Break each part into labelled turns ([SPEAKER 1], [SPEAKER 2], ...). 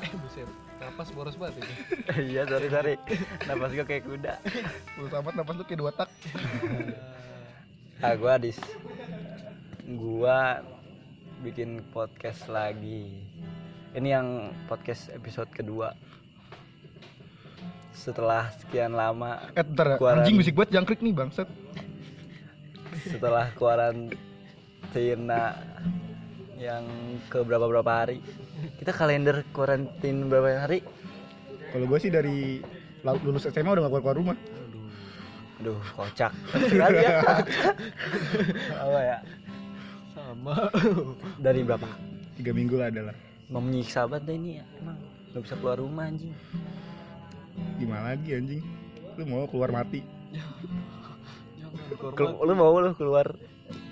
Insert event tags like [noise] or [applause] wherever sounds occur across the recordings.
[SPEAKER 1] Eh, Buset, napas boros
[SPEAKER 2] [laughs]
[SPEAKER 1] banget ini.
[SPEAKER 3] iya sorry sorry napas gue kayak kuda
[SPEAKER 2] Bodo amat napas lu kayak dua tak.
[SPEAKER 3] ah gue dis gua bikin podcast lagi ini yang podcast episode kedua setelah sekian lama
[SPEAKER 2] Eh bentar ya.
[SPEAKER 3] Kuaran.
[SPEAKER 2] Anjing bisik buat jangkrik nih bangset.
[SPEAKER 3] setelah karantina yang ke berapa berapa hari kita kalender karantin berapa hari
[SPEAKER 2] Kalau gua sih dari lau- lulus SMA udah gak keluar keluar rumah.
[SPEAKER 3] aduh [laughs] kocak Sekali ya. apa ya
[SPEAKER 1] Sama.
[SPEAKER 3] dari berapa
[SPEAKER 2] [laughs] Tiga minggu lah adalah.
[SPEAKER 3] menyiksa banget deh ini ya, emang nggak bisa keluar rumah anjing
[SPEAKER 2] Gimana lagi anjing? Lu mau keluar mati.
[SPEAKER 1] Jangan korban
[SPEAKER 3] Kelu- lu mau lu keluar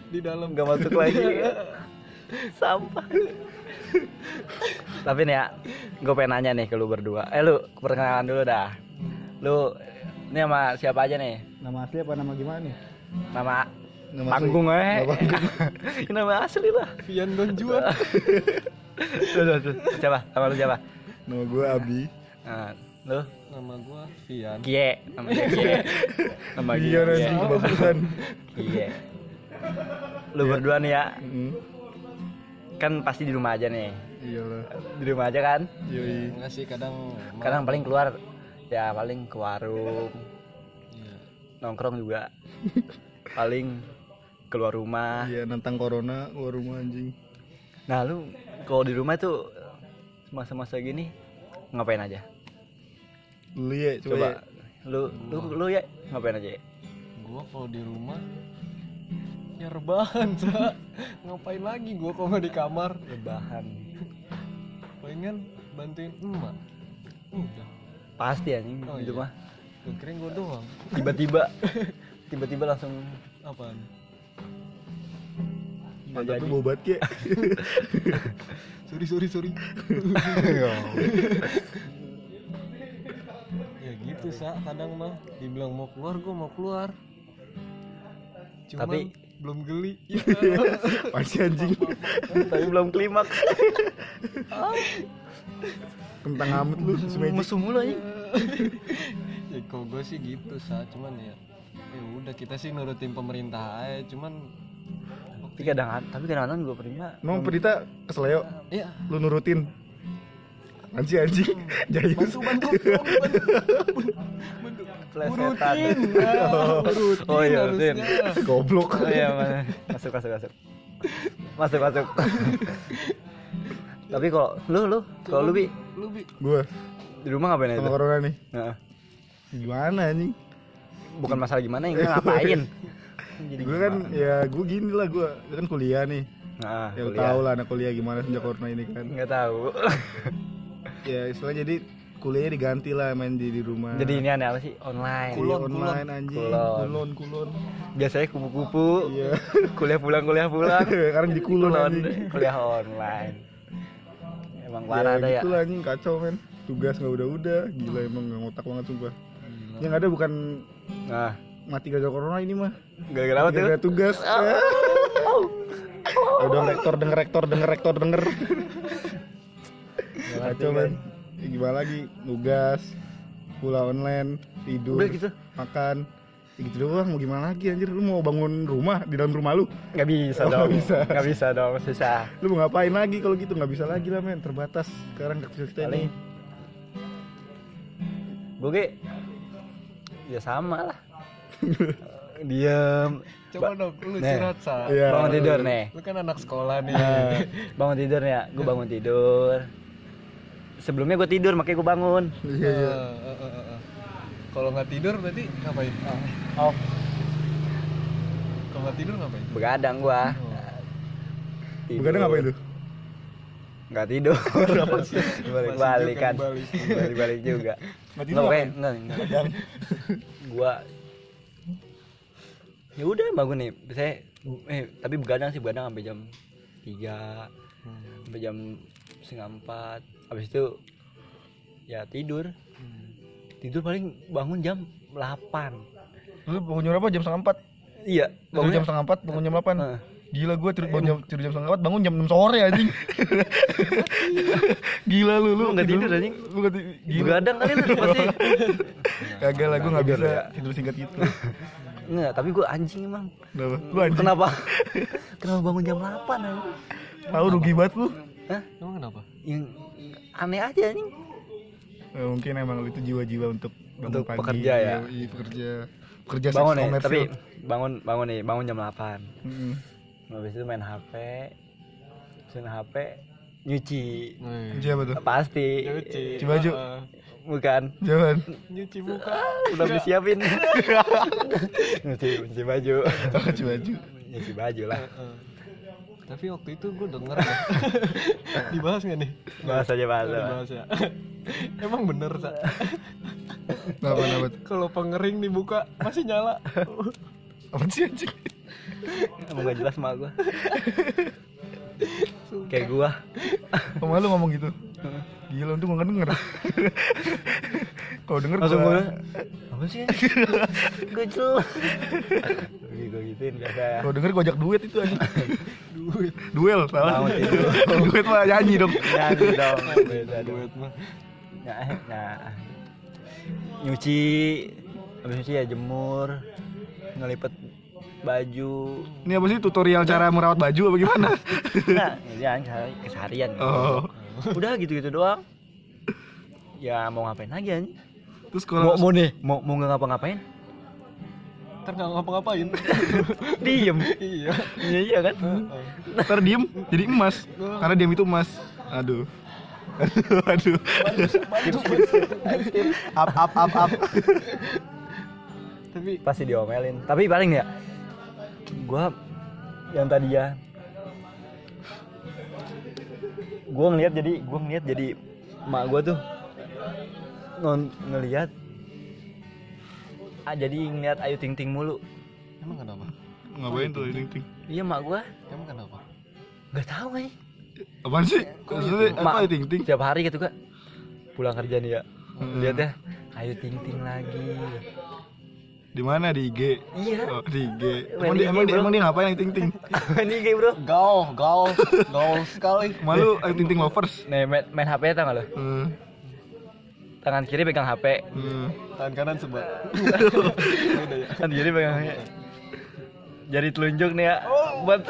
[SPEAKER 1] di dalam
[SPEAKER 3] nggak masuk
[SPEAKER 1] [laughs]
[SPEAKER 3] lagi sampah tapi nih ya gue pengen nanya nih ke lu berdua eh lu perkenalan dulu dah lu ini sama siapa aja nih
[SPEAKER 2] Nama asli apa nama gimana nih?
[SPEAKER 3] nama
[SPEAKER 2] Nama
[SPEAKER 3] panggung eh
[SPEAKER 2] Nama panggung.
[SPEAKER 3] Ini [laughs] nama asli lah
[SPEAKER 1] Vian Donjua.
[SPEAKER 3] Tuh, tuh, tuh. [laughs] siapa sama lu siapa
[SPEAKER 2] [laughs] Nama gua Abi.
[SPEAKER 3] Nah, lu
[SPEAKER 1] Nama gua Vian.
[SPEAKER 3] Gie nama dia
[SPEAKER 1] [laughs]
[SPEAKER 3] Gie nama Gie
[SPEAKER 2] Iya
[SPEAKER 3] Gie.
[SPEAKER 2] anjing kebagusan.
[SPEAKER 3] Gie lu berdua nih ya
[SPEAKER 2] Mm,
[SPEAKER 3] kan pasti di rumah aja nih
[SPEAKER 2] Iya lah. Iya,
[SPEAKER 3] di rumah aja kan
[SPEAKER 2] Yoi.
[SPEAKER 1] Enggak sih kadang ma-
[SPEAKER 3] kadang paling keluar ya paling ke warung
[SPEAKER 1] Iya.
[SPEAKER 3] nongkrong juga paling keluar rumah
[SPEAKER 2] Iya nantang corona keluar rumah anjing.
[SPEAKER 3] nah lu kalau di rumah tuh masa-masa gini ngapain aja
[SPEAKER 2] Lu ya coba.
[SPEAKER 3] coba lu lu lu ya ngapain aja ya?
[SPEAKER 1] Gua kalau di rumah ya rebahan, [laughs] Sa. Ngapain lagi gua kalau nggak di kamar?
[SPEAKER 3] rebahan
[SPEAKER 1] Pengen bantuin emak. Udah.
[SPEAKER 3] pasti anjing
[SPEAKER 1] Oh,
[SPEAKER 3] di
[SPEAKER 1] iya.
[SPEAKER 3] rumah
[SPEAKER 1] Gua kirain gua doang.
[SPEAKER 3] tiba-tiba tiba-tiba langsung
[SPEAKER 1] Apaan?
[SPEAKER 2] Mantap lu bau [laughs] banget kek.
[SPEAKER 1] Sorry, sorry, sorry. ya gitu, Sa. Kadang mah dibilang mau keluar, gua mau keluar. Cuman
[SPEAKER 3] Tapi-
[SPEAKER 1] belum geli. [laughs] Iya.
[SPEAKER 2] Pasti anjing.
[SPEAKER 3] tapi belum klimaks
[SPEAKER 2] Kentang amat lu semeja.
[SPEAKER 3] musuh mulu anjing
[SPEAKER 1] ya kalau gue sih gitu sa cuman ya ya udah kita sih nurutin pemerintah aja cuman
[SPEAKER 3] tapi kadang tapi kadang-kadang gue prima
[SPEAKER 2] Emang Perita kesleo
[SPEAKER 1] ya
[SPEAKER 2] lu nurutin. Anjing anjing.
[SPEAKER 3] Hmm.
[SPEAKER 2] Jayus.
[SPEAKER 1] bantu bantu dong, bantu bantu
[SPEAKER 3] Plesetan.
[SPEAKER 1] urutin ah, urutin
[SPEAKER 3] Oh, iya,
[SPEAKER 1] harusnya.
[SPEAKER 2] Goblok.
[SPEAKER 3] Oh iya, mana? masuk masuk masuk. Masuk masuk. Tapi kalau lu lu kalau lu bi
[SPEAKER 1] lu bi
[SPEAKER 2] Gua
[SPEAKER 3] di rumah ngapain
[SPEAKER 2] sama
[SPEAKER 3] aja? tuh?
[SPEAKER 2] corona nih.
[SPEAKER 3] Nah,
[SPEAKER 2] Gimana anjing?
[SPEAKER 3] bukan masalah gimana
[SPEAKER 2] [laughs]
[SPEAKER 3] yang ngapain. Jadi
[SPEAKER 2] Gua kan ya gua gini lah gua. Gua kan kuliah nih.
[SPEAKER 3] nah,
[SPEAKER 2] Ya lu tau lah anak kuliah gimana sejak corona ini kan.
[SPEAKER 3] Enggak tahu. [laughs]
[SPEAKER 2] Ya istilahnya jadi kuliahnya diganti lah main di, di rumah.
[SPEAKER 3] Jadi ini aneh apa sih? Online.
[SPEAKER 2] Kuliah online anjing.
[SPEAKER 3] Kulon.
[SPEAKER 2] Kulon kulon.
[SPEAKER 3] Biasanya kupu-kupu.
[SPEAKER 2] Iya.
[SPEAKER 3] kuliah pulang kuliah pulang.
[SPEAKER 2] [laughs] Sekarang di kulon
[SPEAKER 3] Kan? Kulon,
[SPEAKER 2] anjing.
[SPEAKER 3] kuliah online. Emang parah ada ya?
[SPEAKER 2] gitu lah anjing kacau men tugas nggak udah-udah gila emang nggak ngotak banget sumpah yang ada bukan
[SPEAKER 3] Nah,
[SPEAKER 2] mati gara-gara corona ini mah
[SPEAKER 3] gara-gara apa tuh?
[SPEAKER 2] gara-gara tugas Eh, udah rektor denger rektor denger rektor denger kacau men Ya, gimana lagi tugas pula online tidur
[SPEAKER 3] Udah gitu.
[SPEAKER 2] makan Ya gitu doang mau gimana lagi anjir lu mau bangun rumah di dalam rumah lu
[SPEAKER 3] Nggak bisa
[SPEAKER 2] Oh, nggak
[SPEAKER 3] dong.
[SPEAKER 2] bisa.
[SPEAKER 3] Nggak bisa dong, susah.
[SPEAKER 2] lu mau ngapain lagi kalau gitu nggak bisa lagi lah men terbatas sekarang kita kita
[SPEAKER 3] paling
[SPEAKER 2] ini
[SPEAKER 3] gue ge, ya sama lah diam
[SPEAKER 1] coba dong lu
[SPEAKER 3] Nih. Iya,
[SPEAKER 1] curhat sa
[SPEAKER 2] Iya.
[SPEAKER 3] bangun tidur nih
[SPEAKER 1] lu kan anak sekolah nih
[SPEAKER 3] bangun tidur nih ya gue bangun tidur sebelumnya gue tidur makanya gue bangun
[SPEAKER 2] iya iya
[SPEAKER 1] Eh, eh, eh, eh, eh. kalau nggak tidur berarti ngapain
[SPEAKER 3] oh
[SPEAKER 1] kalau nggak tidur ngapain
[SPEAKER 3] begadang gue
[SPEAKER 2] iya. begadang ngapain tuh
[SPEAKER 3] nggak tidur balik balik kan
[SPEAKER 1] Balik.
[SPEAKER 3] balik balik juga
[SPEAKER 2] Nggak
[SPEAKER 3] nggak kayak nggak nggak gue ya udah bangun nih biasanya eh tapi begadang sih begadang sampai jam tiga
[SPEAKER 1] Hmm.
[SPEAKER 3] sampai jam setengah empat habis itu ya tidur
[SPEAKER 1] Hmm.
[SPEAKER 3] tidur paling bangun jam 8
[SPEAKER 2] Lu bangun jam berapa? Jam setengah empat.
[SPEAKER 3] iya
[SPEAKER 2] Bangun jam
[SPEAKER 3] bangunnya
[SPEAKER 2] setengah empat, bangun jam delapan.
[SPEAKER 3] Heeh.
[SPEAKER 2] Gila gue tidur, bangun jam, tidur jam setengah empat, bangun jam 6 sore
[SPEAKER 3] [laughs]
[SPEAKER 2] anjing Gila lu, lu
[SPEAKER 3] Lu nggak tidur, anjing?
[SPEAKER 2] Lu nggak tidur Gila
[SPEAKER 3] begadang kali lu pasti
[SPEAKER 2] Kagak lah, gue gak bisa
[SPEAKER 3] ya.
[SPEAKER 2] tidur singkat gitu
[SPEAKER 3] Nggak, tapi gue anjing emang
[SPEAKER 2] Kenapa? Lu anjing,
[SPEAKER 3] Kenapa? [laughs] Kenapa bangun jam 8 anjing?
[SPEAKER 2] tau rugi banget lu
[SPEAKER 3] Hah?
[SPEAKER 1] Emang kenapa?
[SPEAKER 3] Yang aneh aja anjing
[SPEAKER 2] Eh, Mungkin emang lu itu jiwa-jiwa untuk bangun
[SPEAKER 3] Untuk
[SPEAKER 2] pagi,
[SPEAKER 3] pekerja ya?
[SPEAKER 2] Iya, pekerja Pekerja
[SPEAKER 3] Bangun
[SPEAKER 2] seks
[SPEAKER 3] nih, tapi
[SPEAKER 2] komersil.
[SPEAKER 3] bangun bangun nih, bangun jam 8
[SPEAKER 2] Mm-mm.
[SPEAKER 3] Habis itu main HP Terus main HP Nyuci
[SPEAKER 1] Wih.
[SPEAKER 2] Kerja apa tuh?
[SPEAKER 3] Pasti
[SPEAKER 1] Nyuci.
[SPEAKER 2] Coba, Ju.
[SPEAKER 1] Ah,
[SPEAKER 3] Bukan
[SPEAKER 2] Jangan [laughs]
[SPEAKER 1] Nyuci muka.
[SPEAKER 3] Udah [laughs] disiapin nyuci, nyuci baju
[SPEAKER 2] Cuci baju
[SPEAKER 3] Nyuci baju lah
[SPEAKER 1] Heeh. Ah. Tapi waktu itu gue denger
[SPEAKER 3] [laughs]
[SPEAKER 1] ya. Dibahas gak nih?
[SPEAKER 3] Bahas aja bahas aja.
[SPEAKER 1] Dibahas ya. [laughs] Emang bener, Sa.
[SPEAKER 2] Kenapa, kenapa?
[SPEAKER 1] Kalau pengering dibuka masih nyala.
[SPEAKER 2] Apa sih anjing?
[SPEAKER 3] Emang gak jelas sama gua Kayak gua
[SPEAKER 2] Sama lu ngomong gitu Gila, untung gue gak
[SPEAKER 3] [laughs]
[SPEAKER 2] denger Kalau denger
[SPEAKER 3] Langsung
[SPEAKER 2] gua-
[SPEAKER 3] gua Apa sih Gua jelas Gue gituin biasa ya
[SPEAKER 2] Kalau denger gojak duit itu anjing.
[SPEAKER 1] Duit.
[SPEAKER 2] Duel, salah. [laughs] duit mah nyanyi dong.
[SPEAKER 3] Nyanyi
[SPEAKER 1] [laughs]
[SPEAKER 3] dong beda dong.
[SPEAKER 1] Duit mah.
[SPEAKER 3] Nah, nah. Nyuci Habis nyuci ya jemur Ngelipet baju
[SPEAKER 2] Ini apa sih tutorial cara merawat baju apa gimana? [laughs]
[SPEAKER 3] Nah, ini anjay, keseharian
[SPEAKER 2] Oh.
[SPEAKER 3] Udah gitu-gitu doang Ya mau ngapain lagi anjing
[SPEAKER 2] Terus
[SPEAKER 3] Mau,
[SPEAKER 2] kalau
[SPEAKER 3] mau nih, mau, mau nggak
[SPEAKER 1] [laughs]
[SPEAKER 3] ngapa-ngapain
[SPEAKER 1] Ntar nggak ngapa-ngapain.
[SPEAKER 3] Diem
[SPEAKER 1] iya.
[SPEAKER 3] Iya iya kan
[SPEAKER 1] Heeh.
[SPEAKER 2] ntar diem jadi emas. Karena diem itu emas. Aduh. [laughs] Aduh, aduh. Up, up, up, up.
[SPEAKER 1] Tapi
[SPEAKER 3] pasti diomelin tapi paling ya gua yang tadi ya gua ngelihat jadi gua ngelihat jadi emak gua tuh non ngelihat ah jadi ngelihat Ayu Ting Ting mulu
[SPEAKER 1] emang kenapa?
[SPEAKER 2] Ngapain tuh ini? Ting?
[SPEAKER 3] iya emak gua
[SPEAKER 1] Emang kenapa?
[SPEAKER 3] nggak tahu nih
[SPEAKER 2] Apaan sih? Maksudnya
[SPEAKER 3] gitu?
[SPEAKER 2] apa ting ting?
[SPEAKER 3] tiap hari gitu kan pulang kerja nih ya lihat ya Ayu Ting Ting lagi
[SPEAKER 2] Di mana di IG?
[SPEAKER 3] iya
[SPEAKER 2] Oh, di IG. Emang dia emang, dia- emang dia ngapain yang ting ting?
[SPEAKER 3] [laughs] ini kayak bro
[SPEAKER 1] Gaul, gaul, gaul sekali.
[SPEAKER 2] Malu yang ting ting lovers.
[SPEAKER 3] nih main, main HP tau gak lo
[SPEAKER 2] Hmm.
[SPEAKER 3] tangan kiri pegang HP
[SPEAKER 2] Hmm.
[SPEAKER 1] Tangan kanan sebelah. Beda ya.
[SPEAKER 3] kan jadi pegangnya jari telunjuk nih ya buat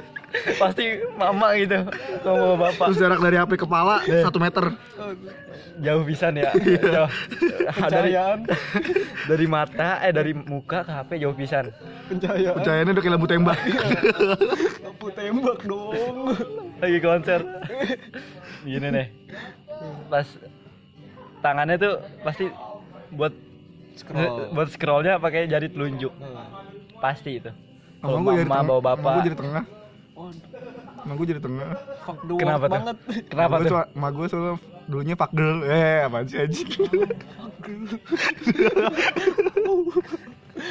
[SPEAKER 3] [laughs] pasti mama gitu sama bapak
[SPEAKER 2] Terus jarak dari HP kepala satu meter.
[SPEAKER 3] jauh pisan ya
[SPEAKER 2] Iya.
[SPEAKER 3] Jauh. dari
[SPEAKER 1] Pencahayaan,
[SPEAKER 3] dari mata eh dari muka ke HP jauh pisan
[SPEAKER 1] pencahayaan.
[SPEAKER 2] Cahayanya udah kayak lampu tembak.
[SPEAKER 1] Aku tembak dong.
[SPEAKER 3] lagi konser gini nih pas tangannya tuh pasti buat
[SPEAKER 1] Scroll.
[SPEAKER 3] buat scrollnya pakai jari telunjuk pasti itu kalau
[SPEAKER 2] Emang gua jadi
[SPEAKER 3] mama
[SPEAKER 2] tengah.
[SPEAKER 3] bawa
[SPEAKER 2] Emang gua
[SPEAKER 3] bapak
[SPEAKER 2] jadi tengah.
[SPEAKER 1] Oh,
[SPEAKER 2] Emang gue jadi tengah.
[SPEAKER 1] fuck the
[SPEAKER 3] Kenapa tuh?
[SPEAKER 1] Kenapa banget.
[SPEAKER 3] kenapa
[SPEAKER 2] Gua
[SPEAKER 3] tuh
[SPEAKER 2] cuma- Emak gue soalnya dulunya pak girl. Eh, apaan sih anjing? [laughs]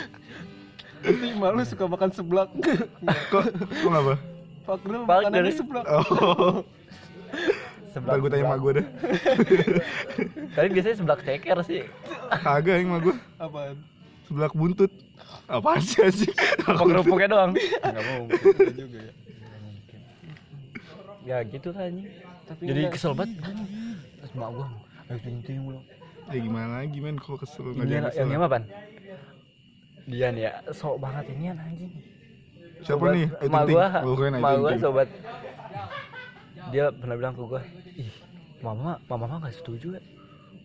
[SPEAKER 1] Pasti malu suka makan seblak.
[SPEAKER 2] Kok kok
[SPEAKER 3] [laughs]
[SPEAKER 2] ngapa?
[SPEAKER 1] fuck the
[SPEAKER 3] Balik
[SPEAKER 1] makanannya
[SPEAKER 3] dari-
[SPEAKER 1] seblak.
[SPEAKER 2] Oh, ntar
[SPEAKER 3] sebelah
[SPEAKER 2] gue tanya emak gue deh.
[SPEAKER 3] kalian biasanya sebelah ceker
[SPEAKER 2] [laughs]
[SPEAKER 3] sih
[SPEAKER 2] Kagak yang emak gue.
[SPEAKER 1] Apaan?
[SPEAKER 2] Sebelah buntut. Apaan sih anjing?
[SPEAKER 3] Apa kerupuknya doang? Enggak mau.
[SPEAKER 1] Iya juga ya.
[SPEAKER 3] Ya gitu kan anjing.
[SPEAKER 1] Tapi
[SPEAKER 3] Jadi
[SPEAKER 1] enggak.
[SPEAKER 3] kesel banget. Terus mak gua, ayo ting-ting mulu.
[SPEAKER 2] Ya gimana lagi men kalau kesel nggak
[SPEAKER 3] Ini
[SPEAKER 2] jadi
[SPEAKER 3] yang
[SPEAKER 2] kesel.
[SPEAKER 3] apa, Pan? Dian ya, sok banget ini anjing.
[SPEAKER 2] Siapa
[SPEAKER 3] Sobat-
[SPEAKER 2] nih? Ayu
[SPEAKER 3] Mak
[SPEAKER 2] Ting-Ting.
[SPEAKER 3] gua,
[SPEAKER 2] Oh, keren Ayu
[SPEAKER 3] mak gua
[SPEAKER 2] Ting-Ting.
[SPEAKER 3] sobat. Dia pernah bilang ke gua, "Ih, mama, mama mah enggak setuju ya.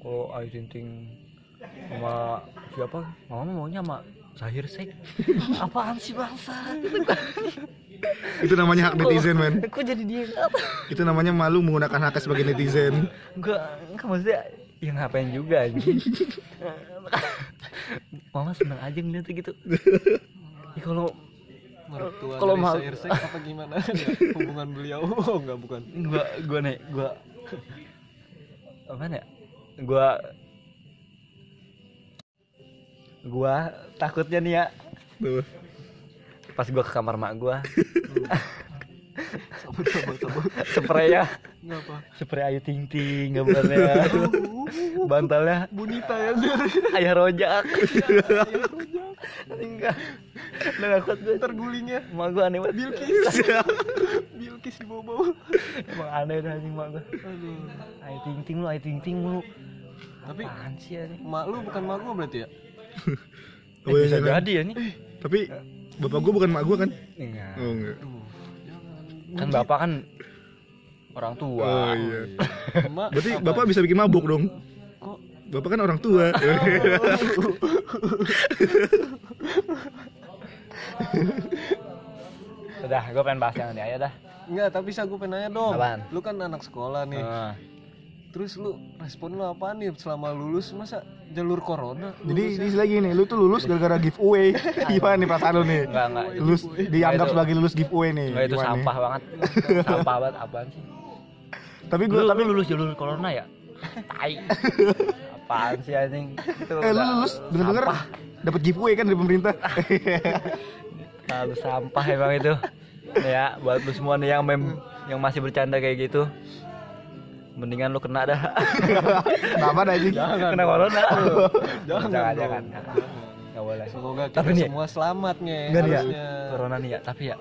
[SPEAKER 3] Kalau Ayu Ting-Ting sama siapa? Mama maunya sama Zahir [laughs] Sek. Apaan sih bangsa?
[SPEAKER 2] Itu namanya hak netizen men.
[SPEAKER 3] Kok jadi dia?
[SPEAKER 2] Itu namanya malu menggunakan hak sebagai netizen.
[SPEAKER 3] Enggak, enggak maksudnya ya ngapain juga anjing. [laughs] Mama seneng aja ngeliatnya gitu. Ya kalau
[SPEAKER 1] Mertua
[SPEAKER 3] Kalau
[SPEAKER 1] kalau
[SPEAKER 3] mahal-
[SPEAKER 1] dari Sairsek apa gimana? Ya, hubungan beliau. Oh, enggak bukan.
[SPEAKER 3] gua gua nih gua apaan ya? Gua gua takutnya nih ya pas gua ke kamar mak gua
[SPEAKER 1] sabar sabar sabar
[SPEAKER 3] Spraynya
[SPEAKER 1] nggak apa
[SPEAKER 3] ya. spray Ayu Ting Ting gambarnya. ya. Bantalnya
[SPEAKER 1] bonita ya Zer.
[SPEAKER 3] Ayah Rojak. Enggak. Enggak kuat gue.
[SPEAKER 1] tergulingnya
[SPEAKER 3] Emak gue aneh banget.
[SPEAKER 1] Bilkis Bilkis di bawah
[SPEAKER 3] Emang aneh dah anjing emak gue.
[SPEAKER 1] aduh
[SPEAKER 3] Ayu Ting Ting lu, Ayu Ting Ting lu.
[SPEAKER 1] tapi
[SPEAKER 3] Apaan sih anjing?
[SPEAKER 1] mak lu bukan mak gua berarti ya
[SPEAKER 3] Eh,
[SPEAKER 2] Apa
[SPEAKER 3] bisa
[SPEAKER 2] yang kan?
[SPEAKER 3] jadi ya nih.
[SPEAKER 2] Tapi bapak gue bukan mak gue kan?
[SPEAKER 3] Enggak.
[SPEAKER 2] Oh enggak.
[SPEAKER 1] aduh jangan.
[SPEAKER 3] Kan bapak kan orang tua.
[SPEAKER 2] Oh iya.
[SPEAKER 1] Mak,
[SPEAKER 2] Berarti
[SPEAKER 1] apa?
[SPEAKER 2] bapak bisa bikin mabuk dong.
[SPEAKER 1] kok
[SPEAKER 2] Bapak kan orang tua.
[SPEAKER 3] Udah, gue pengen bahas yang ini aja dah.
[SPEAKER 1] Enggak, tapi saya gue penanya dong.
[SPEAKER 3] Apaan?
[SPEAKER 1] Lu kan anak sekolah nih.
[SPEAKER 3] Ah.
[SPEAKER 1] Terus lu respon lu apa nih selama lulus masa jalur corona?
[SPEAKER 2] [laughs] Jadi
[SPEAKER 1] Lulus
[SPEAKER 2] ini lagi nih, lu tuh lulus gara-gara giveaway. [laughs] Gimana nih perasaan lu nih?
[SPEAKER 3] Enggak, enggak.
[SPEAKER 2] Lulus dianggap
[SPEAKER 3] Itu-
[SPEAKER 2] sebagai lulus giveaway nih.
[SPEAKER 3] Enggak, itu
[SPEAKER 2] Gimana nih?
[SPEAKER 3] sampah banget. sampah banget apaan
[SPEAKER 2] [laughs]
[SPEAKER 3] sih?
[SPEAKER 2] Tapi
[SPEAKER 3] Lu,
[SPEAKER 2] gue
[SPEAKER 3] lu
[SPEAKER 2] tapi
[SPEAKER 3] lulus jalur corona ya? Tai. Apaan sih anjing? Itu
[SPEAKER 2] eh lu
[SPEAKER 3] udah
[SPEAKER 2] lulus bener-bener
[SPEAKER 3] sampah.
[SPEAKER 2] dapat giveaway kan dari
[SPEAKER 3] [laughs]
[SPEAKER 2] pemerintah.
[SPEAKER 3] Terlalu sampah emang itu. Nih ya, buat lu semua nih yang mem yang masih bercanda kayak gitu. Mendingan lu kena dah. [laughs]
[SPEAKER 2] Kenapa dah anjing?
[SPEAKER 3] kena corona.
[SPEAKER 1] Jangan,
[SPEAKER 3] [laughs] jangan,
[SPEAKER 1] dong.
[SPEAKER 3] jangan. Enggak boleh.
[SPEAKER 1] Semoga kita
[SPEAKER 3] Tapi nih,
[SPEAKER 1] semua selamat nih
[SPEAKER 3] Enggak nih ya,
[SPEAKER 1] harusnya.
[SPEAKER 3] corona nih ya, tapi ya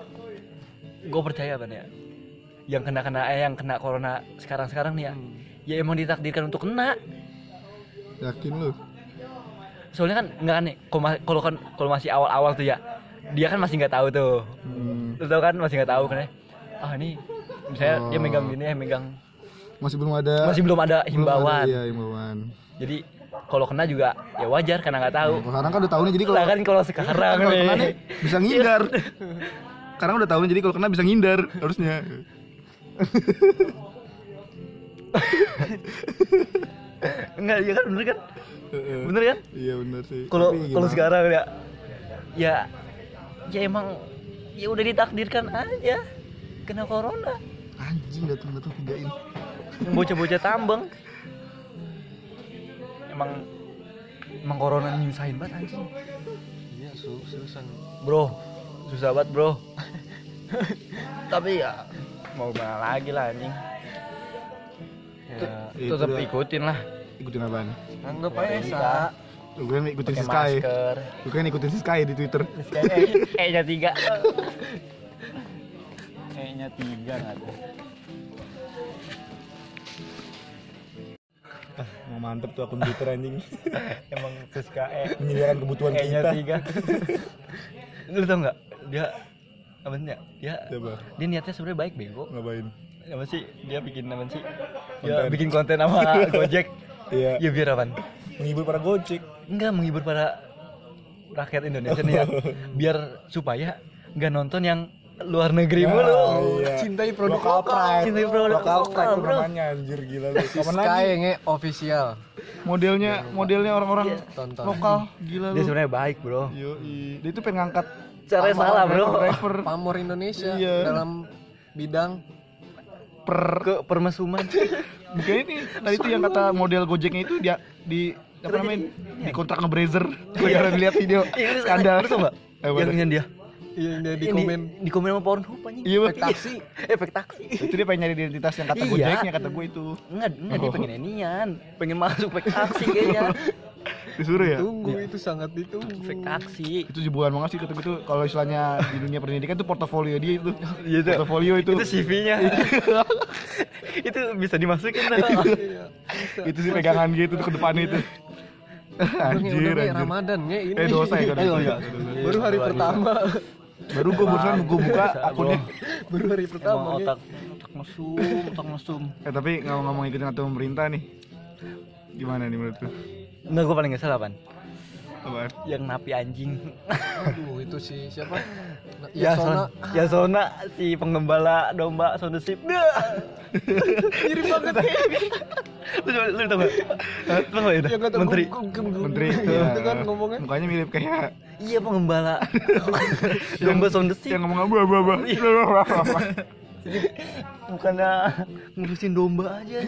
[SPEAKER 3] gue percaya ban ya. Yang kena kena eh yang kena corona sekarang sekarang nih ya,
[SPEAKER 1] Hmm.
[SPEAKER 3] ya emang ditakdirkan untuk kena.
[SPEAKER 2] Yakin lu?
[SPEAKER 3] Soalnya kan nggak aneh, kalau ma- kalau kan kalau masih awal-awal tuh ya, dia kan masih nggak tahu tuh.
[SPEAKER 2] Hmm,
[SPEAKER 3] Lu tau kan masih nggak tahu kan? ya. Ah ini misalnya dia
[SPEAKER 2] Oh.
[SPEAKER 3] megang gini ya megang
[SPEAKER 2] masih belum ada
[SPEAKER 3] masih belum ada
[SPEAKER 2] belum ada,
[SPEAKER 3] himbauan.
[SPEAKER 2] Iya, himbauan.
[SPEAKER 3] Jadi kalau kena juga ya wajar karena nggak tahu.
[SPEAKER 2] Kalau sekarang kan udah tahu nih jadi kalau Iya,
[SPEAKER 3] Lah kan kalau sekarang
[SPEAKER 2] kalau kena nih
[SPEAKER 3] nih.
[SPEAKER 2] bisa
[SPEAKER 3] [laughs]
[SPEAKER 2] ngindar. Karena udah tahu nih, jadi kalau kena bisa ngindar harusnya.
[SPEAKER 3] Enggak, ya kan bener kan? Bener kan?
[SPEAKER 2] Iya bener sih.
[SPEAKER 3] kalau
[SPEAKER 2] Tapi
[SPEAKER 3] kalau
[SPEAKER 2] gimana?
[SPEAKER 3] sekarang ya ya ya emang ya udah ditakdirkan aja kena corona
[SPEAKER 2] anjing datang datang tigain.
[SPEAKER 3] bocah-bocah tambeng emang emang corona ini nyusahin banget anjing
[SPEAKER 1] Iya, su- susah.
[SPEAKER 3] bro susah banget bro [laughs] tapi ya mau gimana lagi lah anjing
[SPEAKER 1] Ya,
[SPEAKER 2] Itu
[SPEAKER 3] tetap
[SPEAKER 2] dia.
[SPEAKER 3] ikutin lah
[SPEAKER 2] Ikutin apaan?
[SPEAKER 1] anggap
[SPEAKER 3] Keluar
[SPEAKER 1] aja
[SPEAKER 3] dari
[SPEAKER 1] Sa.
[SPEAKER 3] kita.
[SPEAKER 2] Lu kan ikutin si
[SPEAKER 3] pakai
[SPEAKER 2] Sky.
[SPEAKER 3] masker
[SPEAKER 2] Lu kan ikutin si Sky di Twitter.
[SPEAKER 3] eh nya tiga eh nya tiga nggak ada
[SPEAKER 2] Mau mantep tuh akun Twitter [laughs] anjing.
[SPEAKER 3] emang Siska eh
[SPEAKER 2] Menyediakan kebutuhan
[SPEAKER 3] kayaknya
[SPEAKER 2] kita.
[SPEAKER 3] tiga lu tau nggak dia apa sih ya dia
[SPEAKER 2] Coba
[SPEAKER 3] dia niatnya sebenarnya baik bego
[SPEAKER 2] ngapain?
[SPEAKER 3] apa sih dia bikin apa sih dia
[SPEAKER 2] Konten.
[SPEAKER 3] bikin konten
[SPEAKER 2] [laughs]
[SPEAKER 3] sama Gojek
[SPEAKER 2] Iya,
[SPEAKER 3] ya biar apa
[SPEAKER 2] menghibur para gocek.
[SPEAKER 3] enggak menghibur para rakyat Indonesia nih ya
[SPEAKER 2] Oh.
[SPEAKER 3] biar supaya nggak nonton yang luar negeri mulu
[SPEAKER 1] Cintai produk
[SPEAKER 2] Oh, Lokal Ah, iya. pride.
[SPEAKER 3] Cintai produk
[SPEAKER 2] Lokal pride tuh
[SPEAKER 3] lokal, bro.
[SPEAKER 2] namanya anjir [laughs] gila Iya, lu.
[SPEAKER 1] Si Sky nge official
[SPEAKER 2] Modelnya modelnya orang-orang
[SPEAKER 1] tonton.
[SPEAKER 2] lokal gila
[SPEAKER 3] dia sebenarnya baik bro
[SPEAKER 2] Yoi. Dia tuh pengen ngangkat
[SPEAKER 3] caranya salah bro
[SPEAKER 2] rapper
[SPEAKER 1] Pamor Indonesia
[SPEAKER 2] Iya.
[SPEAKER 1] dalam bidang
[SPEAKER 2] per
[SPEAKER 3] ke permesuman [laughs]
[SPEAKER 2] Bukannya ini tadi itu yang kata model Gojeknya itu dia di apa namanya di kontrak ngebrezer gara-gara dilihat video
[SPEAKER 3] Iya,
[SPEAKER 2] skandal
[SPEAKER 3] lu tau nggak
[SPEAKER 2] Eh,
[SPEAKER 3] yang, yang dia
[SPEAKER 1] Iya, yang dia di
[SPEAKER 3] Yang
[SPEAKER 1] komen
[SPEAKER 3] di komen sama Pornhub anjing
[SPEAKER 2] iya
[SPEAKER 1] efek
[SPEAKER 2] betul
[SPEAKER 1] taksi.
[SPEAKER 3] [laughs] efek taksi
[SPEAKER 2] itu dia pengen nyari identitas yang kata
[SPEAKER 3] Iya.
[SPEAKER 2] Gojeknya kata gue itu
[SPEAKER 3] Enggak, enggak dia
[SPEAKER 2] Oh.
[SPEAKER 3] pengen inian, pengen masuk fake taksi
[SPEAKER 2] [laughs]
[SPEAKER 3] kayaknya.
[SPEAKER 2] disuruh ya
[SPEAKER 1] Tunggu itu sangat ditunggu.
[SPEAKER 3] fake taksi.
[SPEAKER 2] itu jebuan banget sih kata gue tuh kalau istilahnya di dunia pendidikan itu portofolio dia itu
[SPEAKER 3] Iya, itu.
[SPEAKER 2] portofolio itu
[SPEAKER 3] Itu CV-nya. [laughs] itu bisa dimasukin lah.
[SPEAKER 1] Iya. Bisa.
[SPEAKER 2] itu sih pegangan gitu tuh ke depannya itu
[SPEAKER 1] Udah, nge, udah,
[SPEAKER 2] anjir
[SPEAKER 1] nge,
[SPEAKER 2] anjir
[SPEAKER 1] Ramadan nge ini.
[SPEAKER 2] eh dosa ya kan
[SPEAKER 1] Ayo, ayo. Baru hari
[SPEAKER 3] Dosa,
[SPEAKER 1] pertama. [laughs]
[SPEAKER 2] baru gue barusan gue buka akunnya
[SPEAKER 1] Baru hari pertama.
[SPEAKER 3] Emang
[SPEAKER 1] Nge.
[SPEAKER 3] otak otak mesum, otak mesum.
[SPEAKER 2] eh tapi ngomong-ngomong ikutin aturan pemerintah nih gimana nih menurut lu
[SPEAKER 3] Enggak gua paling kesel apaan?
[SPEAKER 2] apaan
[SPEAKER 3] Yang napi anjing.
[SPEAKER 1] Aduh, itu si siapa? Na-
[SPEAKER 2] Ya,
[SPEAKER 3] Ya
[SPEAKER 1] Yasona.
[SPEAKER 3] Yasona, Yasona si penggembala domba Sound Sip. Mirip banget. Lu coba- lu tau gak? Lu tau gak itu?
[SPEAKER 1] Yang Iya, kata
[SPEAKER 3] Menteri.
[SPEAKER 1] gum, gum, gum.
[SPEAKER 2] Iya, menteri
[SPEAKER 1] Iya,
[SPEAKER 2] ya.
[SPEAKER 1] itu kan ngomongnya.
[SPEAKER 2] mukanya mirip kayak
[SPEAKER 3] Iya penggembala. Domba Sound Sip.
[SPEAKER 2] yang ngomong abu abu abu
[SPEAKER 1] Iya.
[SPEAKER 3] bukannya ngurusin domba aja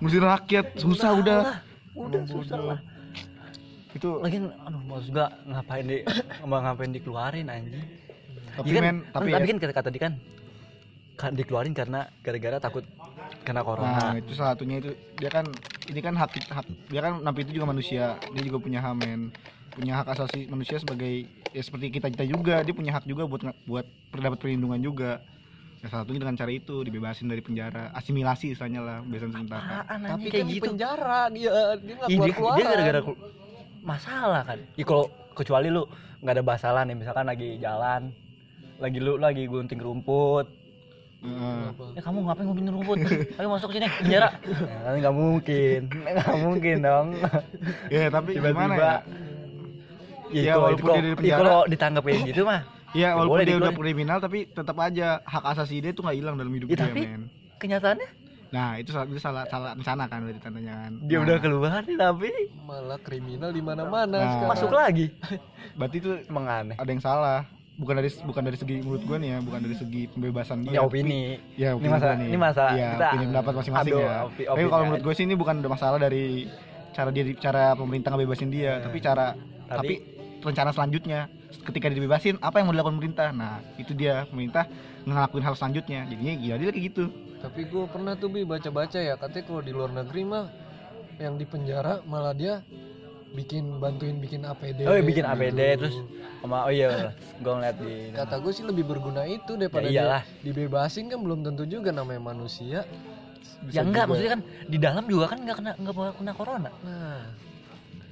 [SPEAKER 2] ngurusin rakyat susah udah
[SPEAKER 3] lah, udah susah lah
[SPEAKER 2] itu
[SPEAKER 3] lagian aduh maksud gak ngapain di nggak ngapain dikeluarin anjing
[SPEAKER 2] tapi
[SPEAKER 3] Iya kan,
[SPEAKER 2] men tapi ya,
[SPEAKER 3] tapi kan kata-kata tadi kan kan dikeluarin karena gara-gara takut kena
[SPEAKER 2] Nah,
[SPEAKER 3] corona
[SPEAKER 2] itu salah satunya itu dia kan ini kan hak, hak dia kan napi itu juga manusia. Dia juga punya hak men punya hak asasi manusia sebagai ya seperti kita kita juga dia punya hak juga buat nge- buat dapat perlindungan juga. Ya salah satunya dengan cara itu dibebasin dari penjara, asimilasi istilahnya lah, bebasan sementara.
[SPEAKER 1] tapi kayak gitu. penjara dia dia nggak
[SPEAKER 3] Iya,
[SPEAKER 1] keluar
[SPEAKER 3] dia, dia gara-gara kelu- masalah kan. Ya kalau kecuali lu nggak ada masalah nih misalkan lagi jalan, lagi lu lagi gunting rumput.
[SPEAKER 2] Heeh.
[SPEAKER 3] Ya kamu ngapain gunting rumput? Ayo masuk sini penjara. [laughs] Ya, nggak mungkin, nggak mungkin dong.
[SPEAKER 2] ya tapi gimana
[SPEAKER 3] Tiba-tiba.
[SPEAKER 2] ya?
[SPEAKER 3] Ya,
[SPEAKER 2] Ya,
[SPEAKER 3] kalau-
[SPEAKER 2] walaupun
[SPEAKER 3] kalau-
[SPEAKER 2] dia di
[SPEAKER 3] ya,
[SPEAKER 2] penjara.
[SPEAKER 3] kalau ditangkepin gitu mah.
[SPEAKER 2] Ya walaupun
[SPEAKER 3] boleh
[SPEAKER 2] dia udah
[SPEAKER 3] dikeluarin.
[SPEAKER 2] kriminal tapi tetap aja hak asasi dia tuh nggak hilang dalam hidup
[SPEAKER 3] Ya,
[SPEAKER 2] dia
[SPEAKER 3] tapi-
[SPEAKER 2] men.
[SPEAKER 3] Kenyataannya
[SPEAKER 2] Nah itu salah itu salah salah rencana kan berarti tandanya kan.
[SPEAKER 3] dia
[SPEAKER 2] Nah,
[SPEAKER 3] udah keluar tapi
[SPEAKER 1] malah kriminal di mana-mana
[SPEAKER 2] Nah.
[SPEAKER 1] sekarang.
[SPEAKER 3] masuk lagi.
[SPEAKER 2] berarti itu
[SPEAKER 3] Menganeh.
[SPEAKER 2] ada yang salah. Bukan dari bukan dari segi menurut gua nih ya, bukan dari segi pembebasan
[SPEAKER 3] Ya
[SPEAKER 2] dia.
[SPEAKER 3] opini.
[SPEAKER 2] Ya,
[SPEAKER 3] Ini
[SPEAKER 2] opini gua
[SPEAKER 3] masalah-
[SPEAKER 2] nih.
[SPEAKER 3] ini masalah
[SPEAKER 2] Ya,
[SPEAKER 3] kita-
[SPEAKER 2] punya pendapat masing-masing
[SPEAKER 3] aduh,
[SPEAKER 2] ya.
[SPEAKER 3] opi-
[SPEAKER 2] Tapi
[SPEAKER 3] opini
[SPEAKER 2] kalau menurut
[SPEAKER 3] aja.
[SPEAKER 2] gue sih ini bukan ada masalah dari cara dia cara pemerintah ngebebasin dia, tapi cara tapi,
[SPEAKER 3] Iya. Tapi-
[SPEAKER 2] rencana selanjutnya ketika dia dibebasin apa yang mau dilakukan pemerintah? Nah, itu dia pemerintah ngelakuin hal selanjutnya. Jadinya gila dia kayak gitu.
[SPEAKER 1] tapi gue pernah tuh bi baca-baca ya katanya kalau di luar negeri mah yang di penjara malah dia bikin bantuin bikin APD
[SPEAKER 3] Oh, bikin APD
[SPEAKER 1] gitu.
[SPEAKER 3] terus sama oh iya, gua ngeliat di
[SPEAKER 1] kata gue sih lebih berguna itu daripada
[SPEAKER 3] Ya iyalah.
[SPEAKER 1] dia dibebasin kan belum tentu juga namanya manusia
[SPEAKER 3] ya enggak maksudnya kan di dalam juga kan enggak kena enggak bakal kena corona
[SPEAKER 1] nah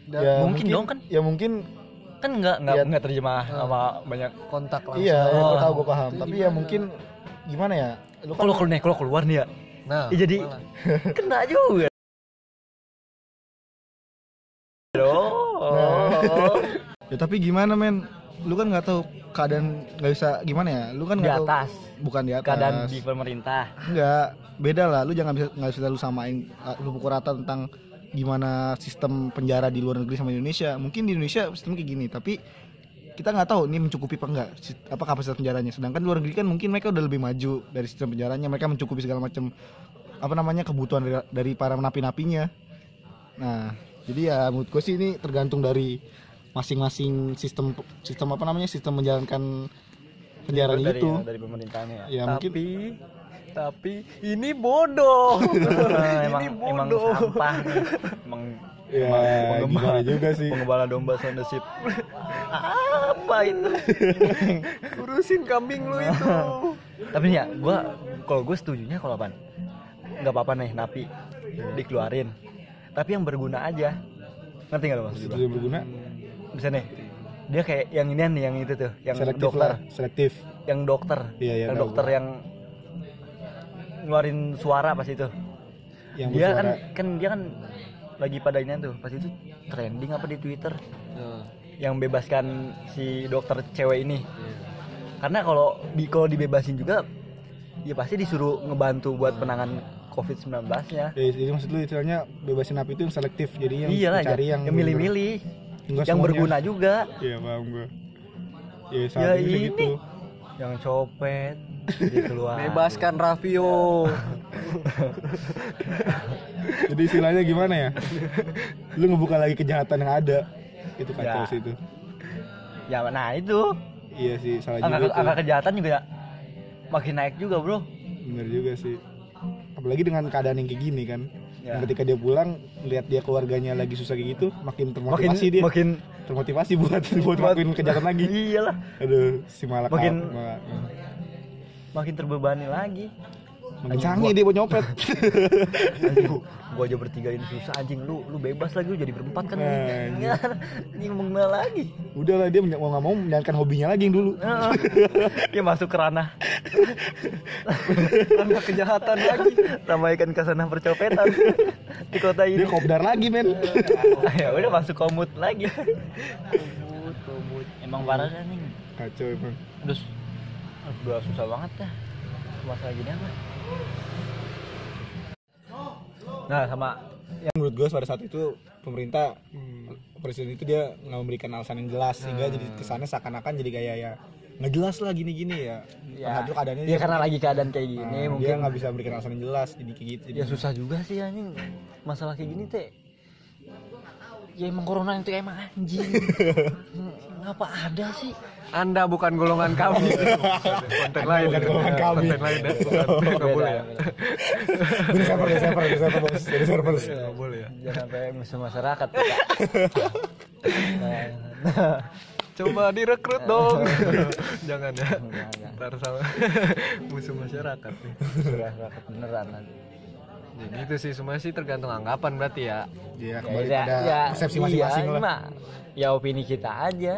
[SPEAKER 1] dan
[SPEAKER 3] Ya, mungkin mungkin- dong kan?
[SPEAKER 2] Ya mungkin
[SPEAKER 3] kan enggak enggak enggak terjemah sama banyak
[SPEAKER 1] kontak langsung
[SPEAKER 2] iya,
[SPEAKER 3] ya, gua
[SPEAKER 2] tahu
[SPEAKER 3] tahu,
[SPEAKER 2] gue paham.
[SPEAKER 1] Itu
[SPEAKER 2] Tapi
[SPEAKER 1] Tapi
[SPEAKER 2] ya
[SPEAKER 1] ya gimana?
[SPEAKER 2] mungkin
[SPEAKER 1] mungkin
[SPEAKER 2] gimana ya? Lu
[SPEAKER 3] Oh, kalau keluar nih, kalau keluar nih ya
[SPEAKER 1] nah
[SPEAKER 3] ya jadi
[SPEAKER 1] malah.
[SPEAKER 3] kena juga Oh,
[SPEAKER 2] Ya tapi gimana men? Lu kan nggak tahu keadaan nggak bisa gimana ya? Lu kan
[SPEAKER 3] di
[SPEAKER 2] nggak tahu
[SPEAKER 3] atas
[SPEAKER 2] bukan di atas.
[SPEAKER 3] keadaan di pemerintah
[SPEAKER 2] Enggak, beda lah. Lu jangan bisa nggak bisa lu samain uh, lu pukul rata tentang gimana sistem penjara di luar negeri sama Indonesia. Mungkin di Indonesia sistem kayak gini, tapi kita nggak tahu ini mencukupi apa enggak si- apa kapasitas penjaranya. Sedangkan di luar negeri kan mungkin mereka udah lebih maju dari sistem penjaranya. Mereka mencukupi segala macam apa namanya kebutuhan dari, dari para napi-napinya. Nah, jadi ya menurut gue sih ini tergantung dari masing-masing sistem sistem apa namanya sistem menjalankan penjara
[SPEAKER 3] dari
[SPEAKER 2] Iya itu.
[SPEAKER 3] dari pemerintahnya
[SPEAKER 2] Ya,
[SPEAKER 3] tapi
[SPEAKER 2] mungkin-
[SPEAKER 3] tapi ini [laughs] bodoh Nah, emang
[SPEAKER 1] Ini
[SPEAKER 3] emang
[SPEAKER 1] bodoh.
[SPEAKER 3] sampah nih emang
[SPEAKER 2] Ya, gimana juga sih.
[SPEAKER 3] pengembala domba sound the ship apa itu
[SPEAKER 1] urusin kambing lu
[SPEAKER 3] [laughs]
[SPEAKER 1] itu
[SPEAKER 3] Nah, tapi nih ya gue kalau gue setujunya kalau apa nggak apa-apa nih napi dikeluarin tapi yang berguna aja ngerti nggak lo maksud
[SPEAKER 2] Itu
[SPEAKER 3] gua?
[SPEAKER 2] yang berguna
[SPEAKER 3] bisa nih dia kayak yang ini nih yang itu tuh yang
[SPEAKER 2] selektif
[SPEAKER 3] dokter
[SPEAKER 2] lah, selektif.
[SPEAKER 3] yang dokter
[SPEAKER 2] Iya, iya,
[SPEAKER 3] yang
[SPEAKER 2] tahu
[SPEAKER 3] dokter
[SPEAKER 2] gua.
[SPEAKER 3] yang ngeluarin suara pas itu
[SPEAKER 2] Yang
[SPEAKER 3] dia kan
[SPEAKER 2] bersuara.
[SPEAKER 3] kan dia kan lagi pada ini tuh pas itu trending apa di twitter
[SPEAKER 1] Nah,
[SPEAKER 3] yang bebaskan si dokter cewek ini
[SPEAKER 1] iya.
[SPEAKER 3] karena kalau di kalau dibebasin juga ya pasti disuruh ngebantu buat penangan covid 19 nya
[SPEAKER 2] Ya, jadi maksud lu istilahnya bebasin napi itu yang selektif. Jadi Iya, yang
[SPEAKER 3] iyalah
[SPEAKER 2] cari
[SPEAKER 3] ya,
[SPEAKER 2] yang,
[SPEAKER 3] yang milih-milih
[SPEAKER 2] Enggak
[SPEAKER 3] yang
[SPEAKER 2] semuanya.
[SPEAKER 3] berguna juga
[SPEAKER 2] Iya, paham gua. Ya,
[SPEAKER 3] Ya,
[SPEAKER 2] saat ini kayak
[SPEAKER 3] ini.
[SPEAKER 2] gitu.
[SPEAKER 3] yang copet
[SPEAKER 2] [laughs]
[SPEAKER 3] dikeluarin
[SPEAKER 1] bebaskan Raffio
[SPEAKER 2] Jadi istilahnya gimana ya? lu ngebuka lagi kejahatan yang ada. Itu kacau
[SPEAKER 3] Ya.
[SPEAKER 2] sih itu.
[SPEAKER 3] ya nah itu
[SPEAKER 2] Iya sih, salah juga
[SPEAKER 3] angka,
[SPEAKER 2] tuh.
[SPEAKER 3] angka kejahatan juga ya. makin naik juga bro
[SPEAKER 2] Bener juga sih. Apalagi dengan keadaan yang kayak gini kan.
[SPEAKER 3] Ya.
[SPEAKER 2] Yang ketika dia pulang, lihat dia keluarganya lagi susah kayak gitu, makin
[SPEAKER 3] makin
[SPEAKER 2] termotivasi dia.
[SPEAKER 3] makin
[SPEAKER 2] Termotivasi buat buat lakuin kejahatan lagi.
[SPEAKER 3] [laughs] iyalah
[SPEAKER 2] Aduh, si malak
[SPEAKER 3] Makin-
[SPEAKER 2] malak-
[SPEAKER 3] makin terbebani lagi
[SPEAKER 2] makin Eh, canggih dia buat [laughs] nyopet.
[SPEAKER 3] anjing gua, gua aja bertiga ini susah anjing lu lu bebas lagi lu jadi berempat kan
[SPEAKER 2] Anjing.
[SPEAKER 3] [laughs] ini ngomong gimana lagi
[SPEAKER 2] Udahlah dia mau nggak mau menjalankan hobinya lagi yang dulu. [laughs]
[SPEAKER 3] Heeh. dia masuk ke ranah ranah kejahatan lagi sama ikan kesana
[SPEAKER 2] [laughs]
[SPEAKER 3] percopetan di kota ini
[SPEAKER 2] Dia kopdar lagi [laughs] men.
[SPEAKER 3] ya udah masuk komut lagi emang parah dah, nih
[SPEAKER 2] Kacau emang.
[SPEAKER 3] terus udah susah banget dah masalah gini apa nah sama
[SPEAKER 2] Yang Ya, menurut gue pada saat itu pemerintah Hmm. presiden itu dia nggak memberikan alasan yang jelas sehingga jadi kesannya seakan-akan jadi kayak ya nggak jelas lah gini-gini ya.
[SPEAKER 3] ya,
[SPEAKER 2] Padahal keadaannya
[SPEAKER 3] ya
[SPEAKER 2] dia-
[SPEAKER 3] karena lagi keadaan kayak
[SPEAKER 2] Nah,
[SPEAKER 3] gini
[SPEAKER 2] dia
[SPEAKER 3] mungkin
[SPEAKER 2] nggak bisa memberikan alasan Ya, [laughs] yang jelas jadi kayak gitu. Jadi
[SPEAKER 3] ya susah juga sih anjing masalah kayak gini teh ya emang corona itu emang anjing ngapa ada sih
[SPEAKER 1] Anda bukan golongan kami.
[SPEAKER 3] [laughs]
[SPEAKER 1] Konten lain.
[SPEAKER 2] bukan golongan kami.
[SPEAKER 1] Konten lain. ya. Konten nggak boleh ya.
[SPEAKER 2] Jadi server, jadi server, jadi server bos, jadi server bos.
[SPEAKER 1] Nggak boleh ya.
[SPEAKER 3] jangan sampai musuh masyarakat [laughs] ya, Kak. Nah,
[SPEAKER 1] Coba direkrut [laughs] dong. Jangan ya.
[SPEAKER 3] Jangan, jangan.
[SPEAKER 1] Ntar sama [laughs] musuh masyarakat nih.
[SPEAKER 3] masyarakat beneran nanti
[SPEAKER 1] Jadi itu sih semua sih tergantung anggapan berarti ya.
[SPEAKER 2] Iya, kembali pada persepsi masing-masing
[SPEAKER 3] ya, iya,
[SPEAKER 2] lah.
[SPEAKER 3] Mak. ya opini kita aja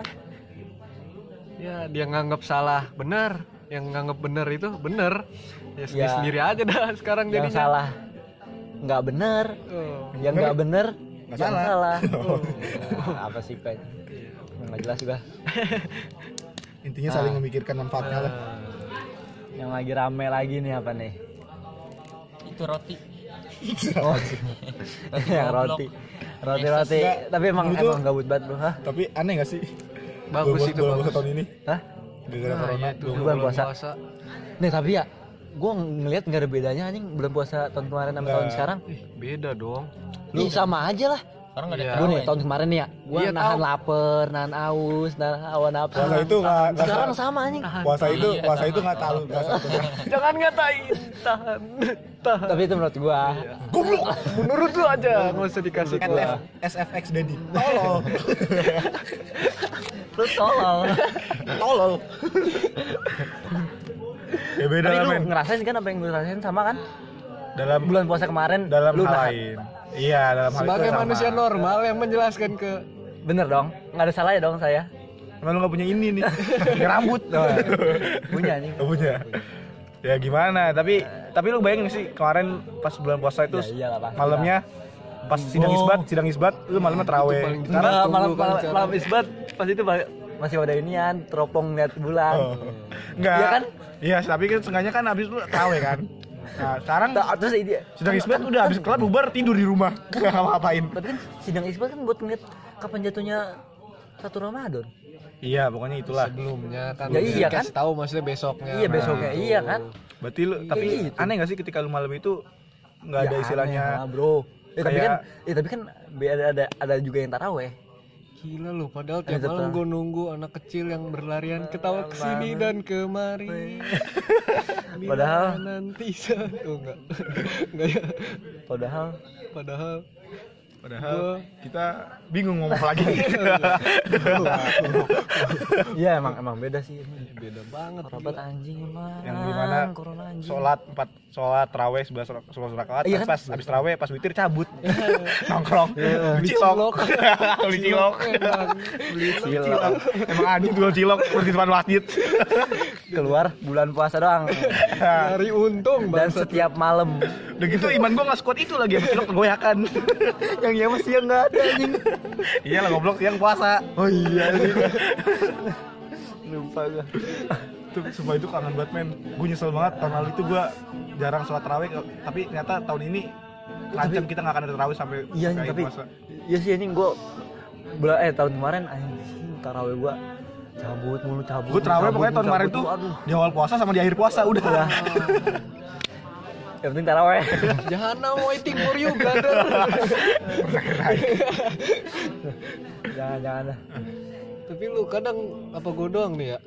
[SPEAKER 1] Ya dia nganggap salah benar, yang nganggap benar itu benar. Ya, sendiri-
[SPEAKER 3] Ya.
[SPEAKER 1] sendiri aja dah [laughs] sekarang
[SPEAKER 3] yang
[SPEAKER 1] jadinya.
[SPEAKER 3] salah nggak bener
[SPEAKER 1] Oh,
[SPEAKER 3] yang nggak bener
[SPEAKER 2] Nggak
[SPEAKER 3] yang
[SPEAKER 2] salah.
[SPEAKER 3] salah Ya, apa sih pak nggak jelas juga
[SPEAKER 2] Intinya saling
[SPEAKER 1] Ah.
[SPEAKER 2] memikirkan manfaatnya lah.
[SPEAKER 3] yang lagi rame lagi nih apa nih
[SPEAKER 4] itu roti
[SPEAKER 3] yang roti roti roti
[SPEAKER 2] Nggak,
[SPEAKER 3] tapi emang
[SPEAKER 2] dulu tuh-
[SPEAKER 3] emang gabut banget bro hah
[SPEAKER 2] Tapi aneh gak sih?
[SPEAKER 1] Bagus
[SPEAKER 2] Dua-
[SPEAKER 1] itu,
[SPEAKER 2] dua- dua-
[SPEAKER 1] bagus.
[SPEAKER 2] tahun ini
[SPEAKER 3] hah
[SPEAKER 2] gara-gara
[SPEAKER 1] nah,
[SPEAKER 2] corona.
[SPEAKER 1] ya itu
[SPEAKER 2] dua-
[SPEAKER 3] bulan
[SPEAKER 1] bulan
[SPEAKER 3] puasa.
[SPEAKER 1] puasa.
[SPEAKER 3] nih tapi ya gue ngelihat nggak ada bedanya anjing bulan puasa tahun kemarin sama tahun
[SPEAKER 2] Nggak.
[SPEAKER 3] sekarang
[SPEAKER 1] Ih, beda dong.
[SPEAKER 3] Ih, sama aja lah
[SPEAKER 4] sekarang nggak ada
[SPEAKER 1] Iya.
[SPEAKER 3] gue
[SPEAKER 4] terawih.
[SPEAKER 3] nih tahun kemarin nih ya gue
[SPEAKER 1] Iya,
[SPEAKER 3] nahan
[SPEAKER 1] tahu.
[SPEAKER 3] lapar nahan haus nahan hawa nafsu
[SPEAKER 2] Puasa Nah, itu nggak- nggak-
[SPEAKER 3] sekarang sama anjing
[SPEAKER 2] Puasa itu,
[SPEAKER 1] Iya,
[SPEAKER 2] puasa itu nggak tahu, nggak satu.
[SPEAKER 1] Jangan ngatain, tahan, tahan.
[SPEAKER 3] tapi itu menurut gua
[SPEAKER 2] Iya. Goblok.
[SPEAKER 1] Menurut lu aja, nggak usah dikasih tahu.
[SPEAKER 2] SF, SFX Dedi. Tolol.
[SPEAKER 3] lu tolol
[SPEAKER 2] Tolol. Ya beda
[SPEAKER 3] tapi
[SPEAKER 2] lah
[SPEAKER 3] lu
[SPEAKER 2] men.
[SPEAKER 3] ngerasain kan apa yang gue rasain sama kan
[SPEAKER 2] Dalam
[SPEAKER 3] bulan puasa kemarin
[SPEAKER 2] dalam
[SPEAKER 3] lu
[SPEAKER 2] hal
[SPEAKER 3] nahan.
[SPEAKER 2] lain. Iya, dalam hal itu
[SPEAKER 1] Sebagai
[SPEAKER 2] sama.
[SPEAKER 1] manusia normal yang menjelaskan ke
[SPEAKER 3] bener dong nggak ada salahnya dong saya
[SPEAKER 2] Emang lu nggak punya ini
[SPEAKER 1] [laughs]
[SPEAKER 2] nih. Punya rambut.
[SPEAKER 3] punya anjing
[SPEAKER 2] Gak punya. Ya gimana, tapi tapi lu bayangin nggak sih kemarin pas bulan puasa itu
[SPEAKER 3] Ya iyalah, pasti
[SPEAKER 2] malamnya pas sidang isbat, sidang isbat lu malamnya terawih.
[SPEAKER 1] paling
[SPEAKER 2] Karena
[SPEAKER 3] Nggak, malam
[SPEAKER 1] kan
[SPEAKER 3] malam,
[SPEAKER 1] cara.
[SPEAKER 3] malam isbat pas itu ba- masih ada inian teropong lihat bulan
[SPEAKER 2] Oh. Enggak.
[SPEAKER 3] kan? Iya
[SPEAKER 2] Iya
[SPEAKER 3] kan?
[SPEAKER 2] tapi kan sengaja kan habis lu tawe kan. Nah, sekarang
[SPEAKER 3] Ta- ah, terus ini
[SPEAKER 2] sudah isbat udah habis kelar bubar tidur di
[SPEAKER 3] [laughs]
[SPEAKER 2] rumah. Enggak ngapa-ngapain.
[SPEAKER 3] tapi kan sidang isbat kan buat ngeliat kapan jatuhnya satu Ramadan
[SPEAKER 2] Iya, pokoknya itulah.
[SPEAKER 1] sebelumnya kan.
[SPEAKER 3] Ya iya
[SPEAKER 1] dikasih tahu maksudnya
[SPEAKER 2] Ya,
[SPEAKER 1] besoknya.
[SPEAKER 3] iya
[SPEAKER 2] nah,
[SPEAKER 3] besoknya
[SPEAKER 1] gitu.
[SPEAKER 3] iya kan
[SPEAKER 2] Berarti lu tapi
[SPEAKER 3] gitu.
[SPEAKER 2] aneh gak sih ketika lu malam itu nggak ada
[SPEAKER 3] Ya,
[SPEAKER 2] istilahnya
[SPEAKER 3] aneh lah, bro ya, tapi
[SPEAKER 2] kayak-
[SPEAKER 3] kan ya, tapi kan be- ada ada ada juga yang taraweh
[SPEAKER 1] Gila lu, padahal tiap
[SPEAKER 3] tetap.
[SPEAKER 1] malam gue nunggu anak kecil yang berlarian ketawa kesini dan
[SPEAKER 2] [laughs]
[SPEAKER 1] kemari. Bila
[SPEAKER 3] Padahal-
[SPEAKER 1] nanti sa- oh enggak, [laughs] enggak ya.
[SPEAKER 3] padahal
[SPEAKER 1] Padahal
[SPEAKER 2] padahal kita bingung ngomong
[SPEAKER 3] [laughs]
[SPEAKER 2] lagi.
[SPEAKER 3] Iya emang emang beda sih.
[SPEAKER 1] beda banget.
[SPEAKER 3] Rapat anjing emang.
[SPEAKER 2] Yang dimana
[SPEAKER 3] Nah, corona anjing.
[SPEAKER 2] sholat empat sholat teraweh sebelas sholat rakaat
[SPEAKER 3] Iya
[SPEAKER 2] pas
[SPEAKER 3] kan? Iya.
[SPEAKER 2] pas abis teraweh pas witir cabut [laughs] nongkrong beli [laughs] cilok beli Iya. cilok
[SPEAKER 3] iya.
[SPEAKER 1] Emang.
[SPEAKER 2] [laughs] Cilok. emang anjing jual cilok terus di depan masjid
[SPEAKER 3] keluar bulan puasa doang.
[SPEAKER 1] Nyari untung
[SPEAKER 3] Dan
[SPEAKER 1] bangsa.
[SPEAKER 3] setiap malam.
[SPEAKER 2] Ya. udah gitu iman gua nggak sekuat itu lagi abis cilok tergoyakan
[SPEAKER 3] Yang ya masih yang enggak ada anjing.
[SPEAKER 2] iya lah ngoblok siang puasa
[SPEAKER 3] Oh iya. Lupa gua.
[SPEAKER 2] itu semua itu kangen banget men gue nyesel banget tahun lalu itu gua jarang sholat teraweh tapi ternyata tahun ini terancam kita nggak akan ada teraweh sampai
[SPEAKER 3] Iya anjing,
[SPEAKER 2] akhir
[SPEAKER 3] tapi
[SPEAKER 2] puasa.
[SPEAKER 3] iya sih anjing gua bela- eh tahun kemarin anjing tarawih gua cabut mulu cabut.
[SPEAKER 2] gue teraweh
[SPEAKER 3] cabut,
[SPEAKER 2] pokoknya tahun
[SPEAKER 3] cabut,
[SPEAKER 2] kemarin tuh
[SPEAKER 3] Aduh.
[SPEAKER 2] di awal puasa sama di akhir puasa udah
[SPEAKER 3] Yang penting taraweh. [laughs]
[SPEAKER 1] Jahanam waiting for you, brother. [laughs]
[SPEAKER 3] jangan jangan lah.
[SPEAKER 1] Tapi lu kadang apa gue doang nih ya?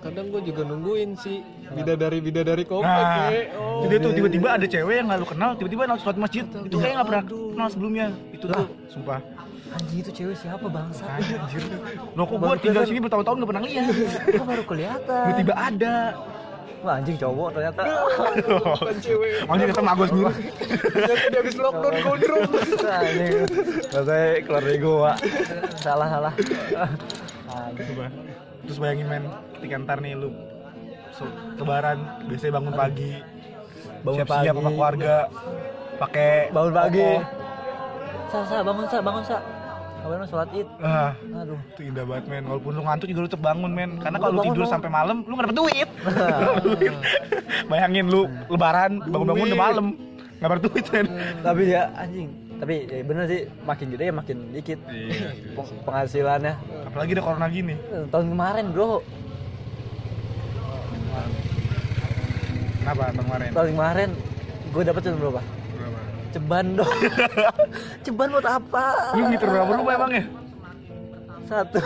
[SPEAKER 1] Kadang gue juga nungguin sih bidadari-bidadari komplek
[SPEAKER 2] Nah,
[SPEAKER 1] ya. Oh.
[SPEAKER 2] jadi tuh tiba-tiba ada cewek yang lalu kenal, tiba-tiba langsung sholat masjid. Itu kayak nggak pernah kenal sebelumnya. Itu tuh, sumpah.
[SPEAKER 3] Anjing itu cewek siapa bangsa?
[SPEAKER 2] Anjir. Loh kok gua tinggal sini bertahun-tahun nggak pernah lihat.
[SPEAKER 3] Gua baru kelihatan.
[SPEAKER 2] Tiba-tiba
[SPEAKER 3] [laughs]
[SPEAKER 2] ada.
[SPEAKER 3] Wah anjing cowok ternyata.
[SPEAKER 1] Bukan cewek.
[SPEAKER 2] Anjir kata gitu. sama Agus Mira.
[SPEAKER 1] Ternyata dia habis lockdown gondrong.
[SPEAKER 3] Anjing. Katanya keluar dari gua. Salah salah. Anjing.
[SPEAKER 2] Sumpah. Terus bayangin men, ketika ntar nih lu so- lebaran biasanya bangun pagi,
[SPEAKER 3] Bangun
[SPEAKER 2] siap-siap
[SPEAKER 3] pagi.
[SPEAKER 2] sama keluarga, pakai
[SPEAKER 3] Bangun pagi.
[SPEAKER 2] koko.
[SPEAKER 3] Sa sa bangun sa bangun sa. Kapan mau sholat id?
[SPEAKER 2] Ah,
[SPEAKER 3] Aduh.
[SPEAKER 2] itu indah banget men. Walaupun lu ngantuk juga lu tetap bangun men. Karena kalau lu
[SPEAKER 3] Bangun,
[SPEAKER 2] tidur
[SPEAKER 3] bangun. Nah.
[SPEAKER 2] sampai malam, lu [laughs] nggak dapet duit. Duit. Bayangin lu lebaran bangun-bangun udah malam. Nggak dapet duit men.
[SPEAKER 3] [laughs] Tapi ya anjing. Tapi ya bener sih makin gede ya makin dikit
[SPEAKER 2] Iya.
[SPEAKER 3] peng- penghasilannya.
[SPEAKER 2] Apalagi ada corona gini.
[SPEAKER 3] Tahun kemarin bro,
[SPEAKER 2] Kenapa bang Maren?
[SPEAKER 3] tahun kemarin gue dapet cuma berapa?
[SPEAKER 2] Berapa?
[SPEAKER 3] ceban dong [laughs] ceban buat apa
[SPEAKER 2] Lu miter berapa rumah emang ya?
[SPEAKER 3] satu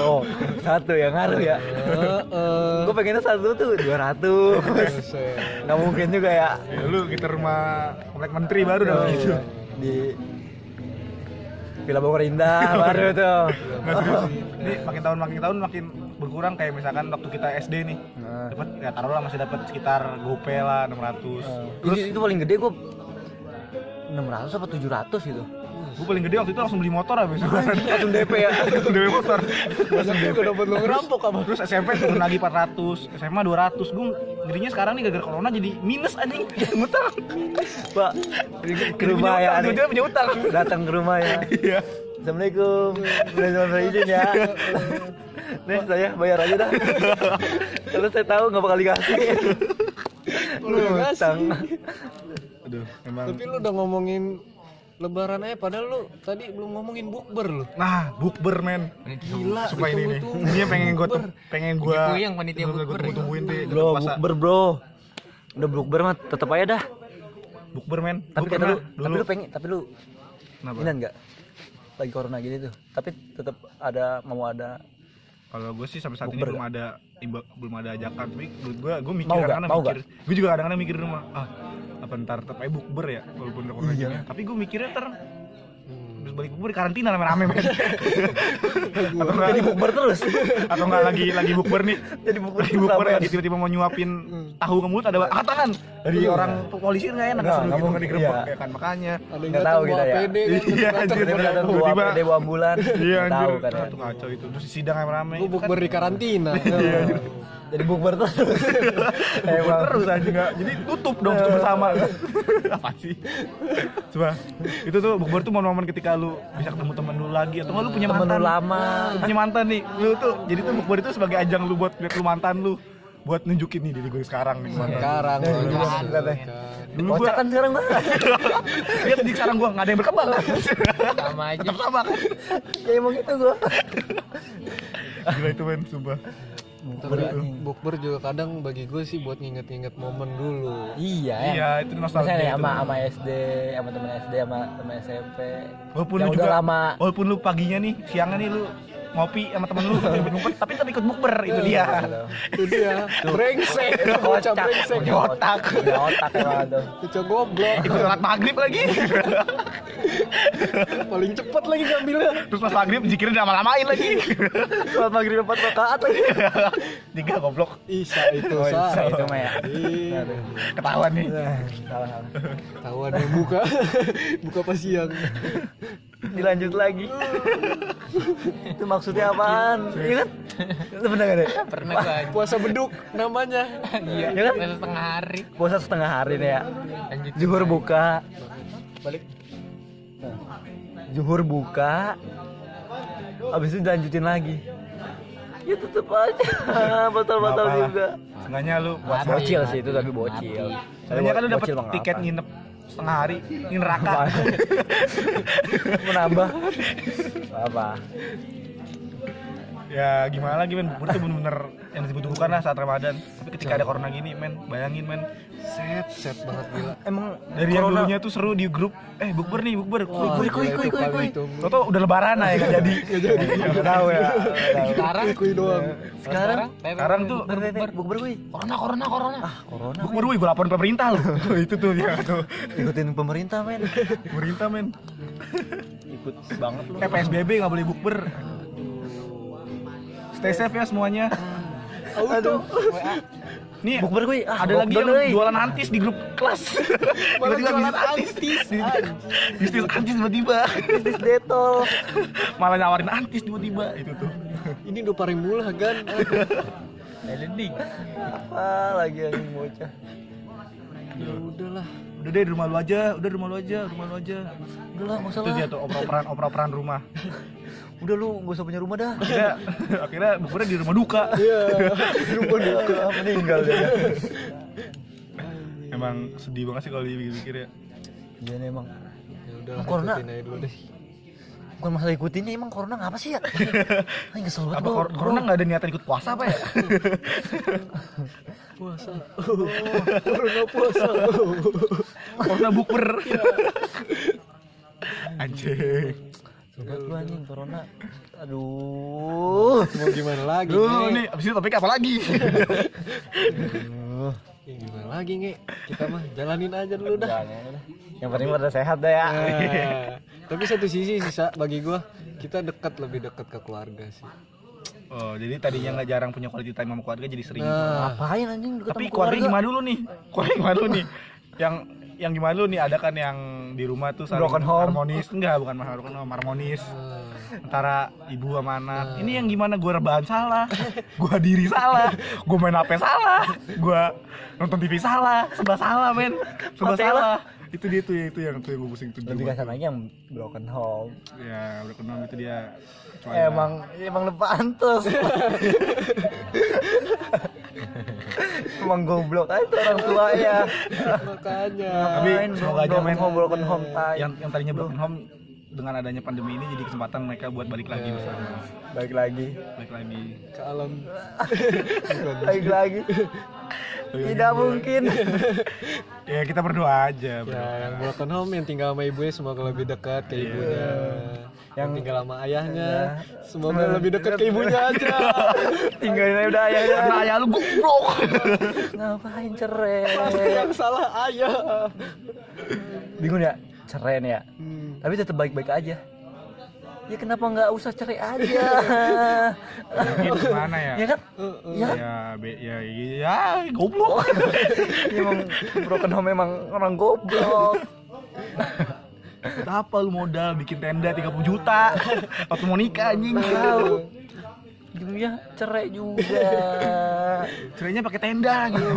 [SPEAKER 3] oh satu ya ngaruh ya
[SPEAKER 1] Eh, eh.
[SPEAKER 3] gue pengennya satu tuh 200
[SPEAKER 1] Buset.
[SPEAKER 3] nggak mungkin juga ya
[SPEAKER 2] ya lu gitar rumah komplek menteri baru dah gitu.
[SPEAKER 3] di Villa Bogor Indah baru tuh
[SPEAKER 2] [laughs] Nggak serius. Ini makin tahun makin tahun makin berkurang kayak misalkan waktu kita SD nih.
[SPEAKER 3] Nah.
[SPEAKER 2] Dapat ya taruhlah masih dapat sekitar gope lah 600.
[SPEAKER 3] Terus itu paling gede gue 600 apa 700 gitu
[SPEAKER 2] Gue paling gede waktu itu langsung beli motor habis.
[SPEAKER 3] langsung DP
[SPEAKER 2] [laughs]
[SPEAKER 3] ya
[SPEAKER 2] Oh, iya. Beli motor.
[SPEAKER 3] gue dapat lo ngerampok apa
[SPEAKER 2] Terus SMP turun lagi 400, SMA 200. Gue jadinya sekarang nih gara-gara corona jadi minus anjing. Ngutang.
[SPEAKER 3] pak ke rumah ya
[SPEAKER 2] Jadi punya utang,
[SPEAKER 3] Ani.
[SPEAKER 2] jadi punya utang.
[SPEAKER 3] datang ke rumah ya
[SPEAKER 2] Iya.
[SPEAKER 3] Assalamualaikum Udah cuma saya izin [laughs] ya Nih saya bayar aja [laughs] dah Kalau saya tahu nggak bakal dikasih Lu utang
[SPEAKER 2] Aduh, emang.
[SPEAKER 1] Tapi lu udah ngomongin lebaran aja padahal lu tadi belum ngomongin bukber lu.
[SPEAKER 2] Nah, bukber men.
[SPEAKER 1] Gila,
[SPEAKER 2] Sumpah ini nih.
[SPEAKER 1] ditunggu-tunggu.
[SPEAKER 2] Ini yang pengen gue pengen gue
[SPEAKER 4] Gitu yang panitia bukber.
[SPEAKER 2] Gue tungguin deh.
[SPEAKER 3] Bro bukber bro Udah bukber mah tetep aja dah
[SPEAKER 2] Bukber Nah, men.
[SPEAKER 3] Tapi
[SPEAKER 2] Gua
[SPEAKER 3] kata
[SPEAKER 2] pernah
[SPEAKER 3] lu Tapi lu pengen Tapi lu
[SPEAKER 2] Kenapa?
[SPEAKER 3] Ini enggak Lagi corona gini tuh Tapi tetep ada Mau ada
[SPEAKER 2] Kalau gue sih sampai saat ini
[SPEAKER 3] Bukber
[SPEAKER 2] belum ada imba- belum ada ajakan tapi menurut gue gue mikir
[SPEAKER 3] Mau gak?
[SPEAKER 2] kadang-kadang
[SPEAKER 3] Mau
[SPEAKER 2] mikir gue juga kadang-kadang mikir di rumah ah apa ntar tetap aja bukber ya walaupun udah
[SPEAKER 3] Iya.
[SPEAKER 2] corona gini tapi gue mikirnya ter
[SPEAKER 3] Hmm.
[SPEAKER 2] terus balik bukber di karantina rame-rame men atau enggak
[SPEAKER 3] Jadi bukber terus
[SPEAKER 2] atau enggak lagi lagi bukber nih
[SPEAKER 3] Jadi bukber
[SPEAKER 2] lagi bukber
[SPEAKER 3] keramaian.
[SPEAKER 2] lagi tiba-tiba mau nyuapin tahu ke mulut ada ah tangan dari orang polisi nggak enak suruh
[SPEAKER 3] Iya. Nggak, nggak
[SPEAKER 2] gitu nggak
[SPEAKER 3] mungkin,
[SPEAKER 2] digerebek
[SPEAKER 3] iya.
[SPEAKER 2] ya kan makanya
[SPEAKER 1] Ada
[SPEAKER 3] Nggak tahu kita ya.
[SPEAKER 1] kan,
[SPEAKER 2] Iya, anjir.
[SPEAKER 3] Tiba-tiba datang dua
[SPEAKER 2] Tiba-tiba-
[SPEAKER 3] PD, dua bulan
[SPEAKER 2] iya
[SPEAKER 3] Nggak Tahu
[SPEAKER 2] anjir
[SPEAKER 3] kan ya.
[SPEAKER 2] itu ngaco itu terus sidang rame-rame
[SPEAKER 1] Lu
[SPEAKER 2] itu kan
[SPEAKER 1] bukber di
[SPEAKER 3] [laughs]
[SPEAKER 1] karantina.
[SPEAKER 3] Iya, Jadi bukber terus
[SPEAKER 2] Bubur
[SPEAKER 3] [laughs] Emang
[SPEAKER 2] terus aja nggak jadi tutup dong tutup bersama
[SPEAKER 3] [laughs]
[SPEAKER 2] apa sih coba itu tuh bukber tuh momen-momen ketika lu bisa ketemu temen lu lagi atau nggak lu punya
[SPEAKER 3] Temen
[SPEAKER 2] mantan
[SPEAKER 3] lu lama.
[SPEAKER 2] Lu punya mantan nih lu tuh jadi tuh bukber itu sebagai ajang lu buat lihat lu mantan lu buat nunjukin nih diri gue sekarang nih mantan
[SPEAKER 1] Sekarang
[SPEAKER 3] Iya,
[SPEAKER 1] lu
[SPEAKER 3] iya,
[SPEAKER 1] jangan.
[SPEAKER 3] iya, iya.
[SPEAKER 2] dulu
[SPEAKER 3] Kocak
[SPEAKER 2] gua [laughs]
[SPEAKER 3] kan sekarang [laughs] mah
[SPEAKER 2] lihat di sekarang gua nggak ada yang
[SPEAKER 3] [laughs]
[SPEAKER 2] berkembang
[SPEAKER 4] Sama aja.
[SPEAKER 2] tetap sama kan
[SPEAKER 3] Ya emang gitu gua
[SPEAKER 2] gila itu men sumpah
[SPEAKER 1] Tapi
[SPEAKER 3] ya?
[SPEAKER 1] bukber juga kadang bagi gue sih buat nginget-nginget momen dulu.
[SPEAKER 3] Iya
[SPEAKER 2] iya itu nostalgia
[SPEAKER 3] Misalnya
[SPEAKER 2] itu.
[SPEAKER 3] sama sama SD, sama temen SD, sama temen SMP.
[SPEAKER 2] walaupun
[SPEAKER 3] yang
[SPEAKER 2] lu
[SPEAKER 3] Ya udah
[SPEAKER 2] juga
[SPEAKER 3] lama.
[SPEAKER 2] walaupun lu paginya nih siangnya nih lu ngopi sama temen lu
[SPEAKER 3] [laughs]
[SPEAKER 2] ngumpet-ngumpet, tapi tetap ikut bukber itu
[SPEAKER 3] Iya,
[SPEAKER 2] dia
[SPEAKER 1] Itu dia. [laughs] Brengsek. Bocah
[SPEAKER 3] Kocak,
[SPEAKER 1] brengsek.
[SPEAKER 3] punya otak, punya otak emang tuh.
[SPEAKER 1] Bocah goblok.
[SPEAKER 2] ikut sholat maghrib
[SPEAKER 3] [laughs]
[SPEAKER 2] lagi
[SPEAKER 1] Paling cepet lagi ngambilnya.
[SPEAKER 2] terus pas maghrib jikirnya lama-lamain lagi
[SPEAKER 3] Sholat maghrib empat rakaat lagi.
[SPEAKER 2] tiga goblok
[SPEAKER 1] Isa itu
[SPEAKER 3] Oh,
[SPEAKER 1] sa.
[SPEAKER 3] Isa itu mah ya.
[SPEAKER 1] Iya.
[SPEAKER 3] Aduh.
[SPEAKER 2] ketahuan nih
[SPEAKER 3] Salah, salah.
[SPEAKER 1] Tahu ada yang buka. [laughs] buka pas siang.
[SPEAKER 3] Dilanjut [laughs] lagi. Itu maksudnya apaan? Iya kan? Itu bener gak deh?
[SPEAKER 4] Pernah gua
[SPEAKER 1] Puasa beduk namanya.
[SPEAKER 4] Iya.
[SPEAKER 3] Iya kan?
[SPEAKER 4] Masa setengah hari.
[SPEAKER 3] Puasa setengah hari nih ya.
[SPEAKER 4] Lanjut.
[SPEAKER 3] Zuhur buka,
[SPEAKER 1] Balik.
[SPEAKER 3] Zuhur buka. Abis itu dilanjutin lagi. Ya tetep aja [laughs] batal-batal
[SPEAKER 2] Nggak apa-apa.
[SPEAKER 3] juga.
[SPEAKER 2] Seenggaknya lu buat
[SPEAKER 4] Mati,
[SPEAKER 3] Bocil sih
[SPEAKER 4] mati,
[SPEAKER 3] itu tapi
[SPEAKER 4] mati.
[SPEAKER 3] bocil.
[SPEAKER 2] Seenggaknya kan lu dapat
[SPEAKER 3] Bocil mah nggak
[SPEAKER 2] tiket
[SPEAKER 3] apa.
[SPEAKER 2] nginep setengah hari ini neraka
[SPEAKER 3] [laughs] menambah apa?
[SPEAKER 2] ya gimana lagi men bukber tuh bener-bener yang dibutuhkan lah saat ramadan tapi ketika ada corona gini men bayangin men
[SPEAKER 1] Set, set banget gila.
[SPEAKER 3] Emang
[SPEAKER 2] dari yang dulunya tuh seru di grup eh bukber nih bukber kuy kuy kuy kuy kuy kuy
[SPEAKER 1] Tunggu.
[SPEAKER 2] Tau tau udah lebaran aja gak jadi
[SPEAKER 3] Gak tahu ya. nggak tahu.
[SPEAKER 4] Sekarang
[SPEAKER 1] Kui doang.
[SPEAKER 4] sekarang
[SPEAKER 2] sekarang tuh
[SPEAKER 3] Bentar, bentar, bentar. Bukber gue.
[SPEAKER 4] corona corona corona.
[SPEAKER 3] Ah, corona.
[SPEAKER 2] bukber wih gue laporin pemerintah lu [laughs] itu tuh ya tuh
[SPEAKER 3] Ikutin pemerintah, men.
[SPEAKER 2] pemerintah men
[SPEAKER 3] Ikut banget lu.
[SPEAKER 2] Eh PSBB nggak boleh bukber. Stay safe ya semuanya.
[SPEAKER 1] Auto.
[SPEAKER 2] Nih
[SPEAKER 3] Bukber gue. Ah,
[SPEAKER 2] ada lagi yang
[SPEAKER 3] lockdown, euy.
[SPEAKER 2] jualan antis di grup
[SPEAKER 3] [laughs]
[SPEAKER 2] kelas.
[SPEAKER 1] Malah
[SPEAKER 2] Tiba-tiba
[SPEAKER 1] jualan
[SPEAKER 2] bisnis antis.
[SPEAKER 1] antis.
[SPEAKER 2] Bisnis antis tiba-tiba. [laughs]
[SPEAKER 3] Bisnis detol.
[SPEAKER 2] Malah nawarin antis tiba-tiba itu tuh.
[SPEAKER 1] Ini udah paling mula [laughs] kan.
[SPEAKER 4] Elending.
[SPEAKER 3] Apa lagi yang bocah?
[SPEAKER 1] Ya udahlah.
[SPEAKER 2] Udah deh di rumah lu aja, udah di rumah lu aja, rumah lu aja.
[SPEAKER 3] Udah lah, nggak usah
[SPEAKER 2] Itu
[SPEAKER 3] lah.
[SPEAKER 2] dia tuh oper-operan oper-operan rumah.
[SPEAKER 3] Udah lu nggak usah punya rumah [laughs] dah.
[SPEAKER 2] Akhirnya, [laughs] akhirnya bukbernya di rumah duka.
[SPEAKER 1] Iya.
[SPEAKER 3] Ah, Meninggal dia.
[SPEAKER 2] [laughs] Emang sedih banget sih kalau dipikir-pikir ya.
[SPEAKER 3] Iya nih, emang.
[SPEAKER 1] Ya udahlah.
[SPEAKER 3] Corona.
[SPEAKER 1] ikutin aja dulu deh.
[SPEAKER 3] bukan masalah ikutin ya emang corona ngapa [laughs] sih ya Ay, kesel banget
[SPEAKER 2] Apa kor- corona nggak ada niatan ikut puasa apa ya?
[SPEAKER 1] [laughs] puasa corona puasa
[SPEAKER 2] corona buper. Anjing.
[SPEAKER 3] Sobat lu anjing corona aduh
[SPEAKER 1] mau gimana lagi
[SPEAKER 2] Duh,
[SPEAKER 1] Nge?
[SPEAKER 2] nih abis itu topik apa
[SPEAKER 1] [laughs]
[SPEAKER 2] lagi?
[SPEAKER 1] Ya, gimana lagi nge kita mah jalanin aja dulu [laughs] dah
[SPEAKER 3] yang penting pada sehat dah ya
[SPEAKER 1] Nah, tapi satu sisi sisa bagi gua kita dekat lebih dekat ke keluarga sih [laughs]
[SPEAKER 2] oh, jadi tadinya nggak jarang punya quality time sama keluarga jadi sering.
[SPEAKER 1] nah
[SPEAKER 3] ngapain anjing deket
[SPEAKER 2] Tapi
[SPEAKER 3] sama
[SPEAKER 2] keluarga gimana dulu nih? Keluarga gimana dulu nih? Yang yang gimana dulu nih? Ada kan yang di rumah tuh saling
[SPEAKER 3] Broken home.
[SPEAKER 2] harmonis? Enggak, bukan masalah broken home, harmonis
[SPEAKER 1] eh,
[SPEAKER 2] antara ibu sama anak. Ini yang gimana? Gua rebahan salah, gua diri salah, gua main HP salah, gua nonton TV salah, serba salah men, serba
[SPEAKER 3] Hotel.
[SPEAKER 2] salah. Itu dia tuh itu yang tuh yang gua pusing tuh. di
[SPEAKER 3] lebih
[SPEAKER 2] rumah.
[SPEAKER 3] kasar lagi yang broken home
[SPEAKER 2] Ya, broken home itu dia. cuan.
[SPEAKER 3] emang emang lu [laughs] pantes emang goblok aja tuh orang tua ya
[SPEAKER 1] makanya
[SPEAKER 2] Tapi semoga aja men
[SPEAKER 3] mau broken home tai
[SPEAKER 2] yang yang tadinya broken home dengan adanya pandemi ini jadi kesempatan mereka buat balik lagi bersama.
[SPEAKER 3] balik lagi
[SPEAKER 2] Balik lagi.
[SPEAKER 1] ke alam [laughs]
[SPEAKER 3] balik lagi tidak mungkin
[SPEAKER 2] Ya kita berdoa aja.
[SPEAKER 1] ya
[SPEAKER 2] berdoa.
[SPEAKER 1] yang broken home yang tinggal sama ibunya semoga lebih dekat ke ibunya Iya. yang Iya. tinggal sama ayahnya semoga lebih dekat ke ibunya [laughs] aja
[SPEAKER 3] [laughs] tinggalin aja udah ya, ayah
[SPEAKER 2] Karena ayah lu goblok.
[SPEAKER 3] ngapain cerai
[SPEAKER 1] pasti yang salah ayah
[SPEAKER 3] bingung ya cerai nih ya
[SPEAKER 1] Hmm.
[SPEAKER 3] tapi tetap baik-baik aja ya kenapa nggak usah cerai [laughs] aja
[SPEAKER 2] Mungkin gimana ya?
[SPEAKER 3] ya kan ya kan
[SPEAKER 2] Ya, be, ya, ya, ya, goblok.
[SPEAKER 3] emang broken home emang orang goblok
[SPEAKER 2] Apa lu modal bikin tenda 30 juta? Waktu mau nikah anjing.
[SPEAKER 3] tahu Jumnya ya, cerai juga
[SPEAKER 2] Cerainya pakai tenda gitu.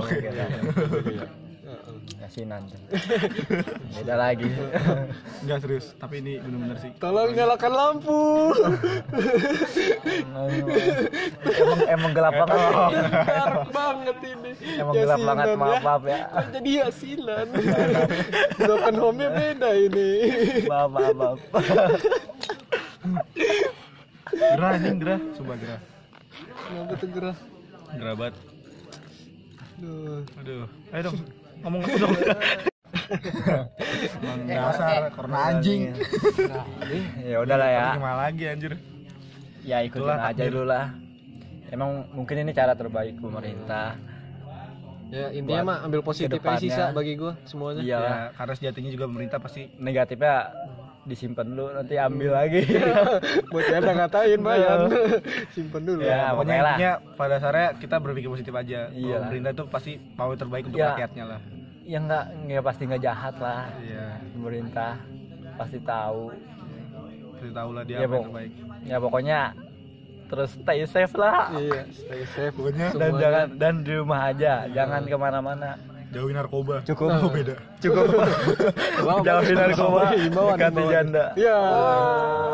[SPEAKER 2] Pakai.
[SPEAKER 3] kasinan Ya beda lagi
[SPEAKER 2] Enggak serius, tapi ini benar-benar sih.
[SPEAKER 1] tolong nyalakan lampu
[SPEAKER 3] [laughs] emang emang gelap banget
[SPEAKER 1] dark banget ini Ya,
[SPEAKER 3] Emang gelap banget,
[SPEAKER 1] Yasinan
[SPEAKER 3] maaf, maaf ya.
[SPEAKER 1] Kan jadi yasinan [laughs] broken home-nya beda ini
[SPEAKER 3] maaf maaf maaf
[SPEAKER 2] Gerah anjing, gerah, sumpah gerah.
[SPEAKER 1] kenapa tuh gerah
[SPEAKER 2] Gerah banget.
[SPEAKER 1] Duh.
[SPEAKER 2] Aduh, ayo dong ngomong aku dong.
[SPEAKER 3] Eh,
[SPEAKER 2] Emang dasar karena anjing.
[SPEAKER 3] ya udahlah ya
[SPEAKER 2] Gimana lagi anjir?
[SPEAKER 3] ya ikutin
[SPEAKER 2] Itulah
[SPEAKER 3] aja dulu lah emang mungkin ini cara terbaik pemerintah
[SPEAKER 1] ya intinya mah ambil positif aja
[SPEAKER 3] kedepannya.
[SPEAKER 1] sisa bagi gua semuanya
[SPEAKER 3] iyalah
[SPEAKER 2] Ya, karena sejatinya juga pemerintah pasti
[SPEAKER 3] Iya. negatifnya disimpan dulu nanti ambil
[SPEAKER 1] [laughs]
[SPEAKER 3] lagi
[SPEAKER 1] buat yang udah ngatain bayan
[SPEAKER 3] Iya.
[SPEAKER 1] [laughs] simpen dulu
[SPEAKER 3] Ya,
[SPEAKER 2] ya, pokoknya
[SPEAKER 3] pokoknya lah.
[SPEAKER 2] intinya pada dasarnya kita berpikir positif aja. Kalau
[SPEAKER 3] Iyalah.
[SPEAKER 2] Pemerintah itu pasti mau yang terbaik untuk
[SPEAKER 3] Ya.
[SPEAKER 2] rakyatnya lah.
[SPEAKER 3] ya nggak ya pasti nggak jahat lah
[SPEAKER 2] Iya,
[SPEAKER 3] pemerintah pasti tahu
[SPEAKER 2] pasti tahu lah dia apa
[SPEAKER 3] Ya,
[SPEAKER 2] yang
[SPEAKER 3] Bang.
[SPEAKER 2] terbaik.
[SPEAKER 3] ya pokoknya terus stay safe lah
[SPEAKER 1] iya stay safe
[SPEAKER 2] Pokoknya
[SPEAKER 3] dan
[SPEAKER 1] Semuanya.
[SPEAKER 3] jangan dan di rumah aja jangan kemana-mana
[SPEAKER 2] jauhi narkoba.
[SPEAKER 3] cukup
[SPEAKER 2] Oh, beda.
[SPEAKER 3] cukup
[SPEAKER 1] Wow,
[SPEAKER 3] jauhin narkoba
[SPEAKER 1] himbauan, himbauan.
[SPEAKER 3] dekati janda Oh.
[SPEAKER 1] iya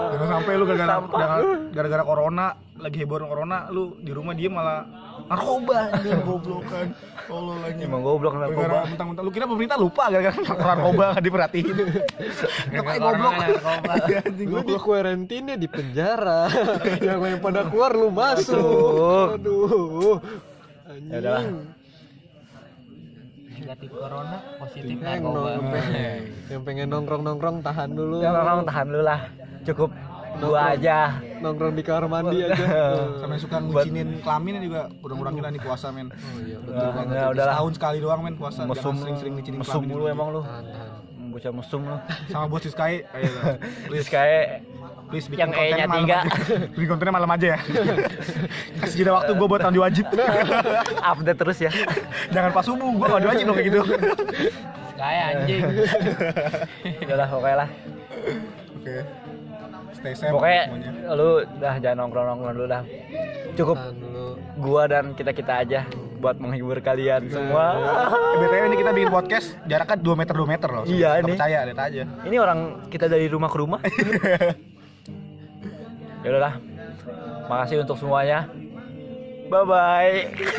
[SPEAKER 2] Jangan sampai lu gara-gara gara- gara-gara corona lagi heboh dengan corona lu di rumah dia malah narkoba anjing goblokan. Allah lagi
[SPEAKER 3] emang goblok narkoba
[SPEAKER 2] gara-gara mentang-mentang lu kira pemerintah lupa gara-gara [laughs] narkoba nggak
[SPEAKER 3] [laughs]
[SPEAKER 2] diperhatiin Tetep aja goblok Iya, anjing,
[SPEAKER 1] lu di
[SPEAKER 2] goblok
[SPEAKER 1] kuarantina di
[SPEAKER 3] [laughs]
[SPEAKER 1] penjara yang lain pada keluar lu
[SPEAKER 3] Masuk.
[SPEAKER 1] masuk aduh
[SPEAKER 3] ya udahlah
[SPEAKER 1] anjing
[SPEAKER 4] Negatif corona, positif
[SPEAKER 1] Yang
[SPEAKER 4] narkoba.
[SPEAKER 1] nongkrong, yang pengen nongkrong nongkrong tahan dulu
[SPEAKER 3] ya orang tahan dulu lah cukup dua aja
[SPEAKER 1] nongkrong di kamar mandi aja
[SPEAKER 2] sama yang suka ngucinin kelamin juga kurang-kurangin lah nih puasa men
[SPEAKER 1] Oh, iya.
[SPEAKER 3] Nah, ya udahlah
[SPEAKER 2] tahun sekali doang men puasa
[SPEAKER 3] mesum
[SPEAKER 2] jangan kan sering-sering ngucinin
[SPEAKER 3] mesum
[SPEAKER 2] kelamin
[SPEAKER 3] lu emang lu
[SPEAKER 1] Tahan, tahan.
[SPEAKER 3] bocah mesum lu
[SPEAKER 2] sama bos
[SPEAKER 3] [laughs]
[SPEAKER 2] Sky ayo
[SPEAKER 3] Iya.
[SPEAKER 2] dah.
[SPEAKER 3] terus kayak
[SPEAKER 2] please bikin
[SPEAKER 3] Yang E-nya
[SPEAKER 2] konten malam
[SPEAKER 3] tiga.
[SPEAKER 2] bikin kontennya malam aja
[SPEAKER 3] [laughs]
[SPEAKER 2] ya kasih jeda waktu gue buat mandi wajib
[SPEAKER 3] update terus ya
[SPEAKER 2] jangan pas subuh gue mandi wajib dong kayak gitu
[SPEAKER 4] Kayak anjing.
[SPEAKER 3] [laughs] udahlah pokoknya lah
[SPEAKER 2] oke stay safe
[SPEAKER 3] pokoknya
[SPEAKER 2] semuanya.
[SPEAKER 3] lu dah jangan nongkrong nongkrong dulu dah cukup
[SPEAKER 1] Tahan dulu
[SPEAKER 3] gua dan kita kita aja buat menghibur kalian semua [laughs]
[SPEAKER 2] Eh, BTW ini kita bikin podcast jaraknya 2 meter 2 meter loh.
[SPEAKER 3] Iya,
[SPEAKER 2] Nggak
[SPEAKER 3] ini.
[SPEAKER 2] Percaya lihat aja.
[SPEAKER 3] ini orang kita dari rumah ke rumah [laughs] ya udahlah makasih untuk semuanya bye bye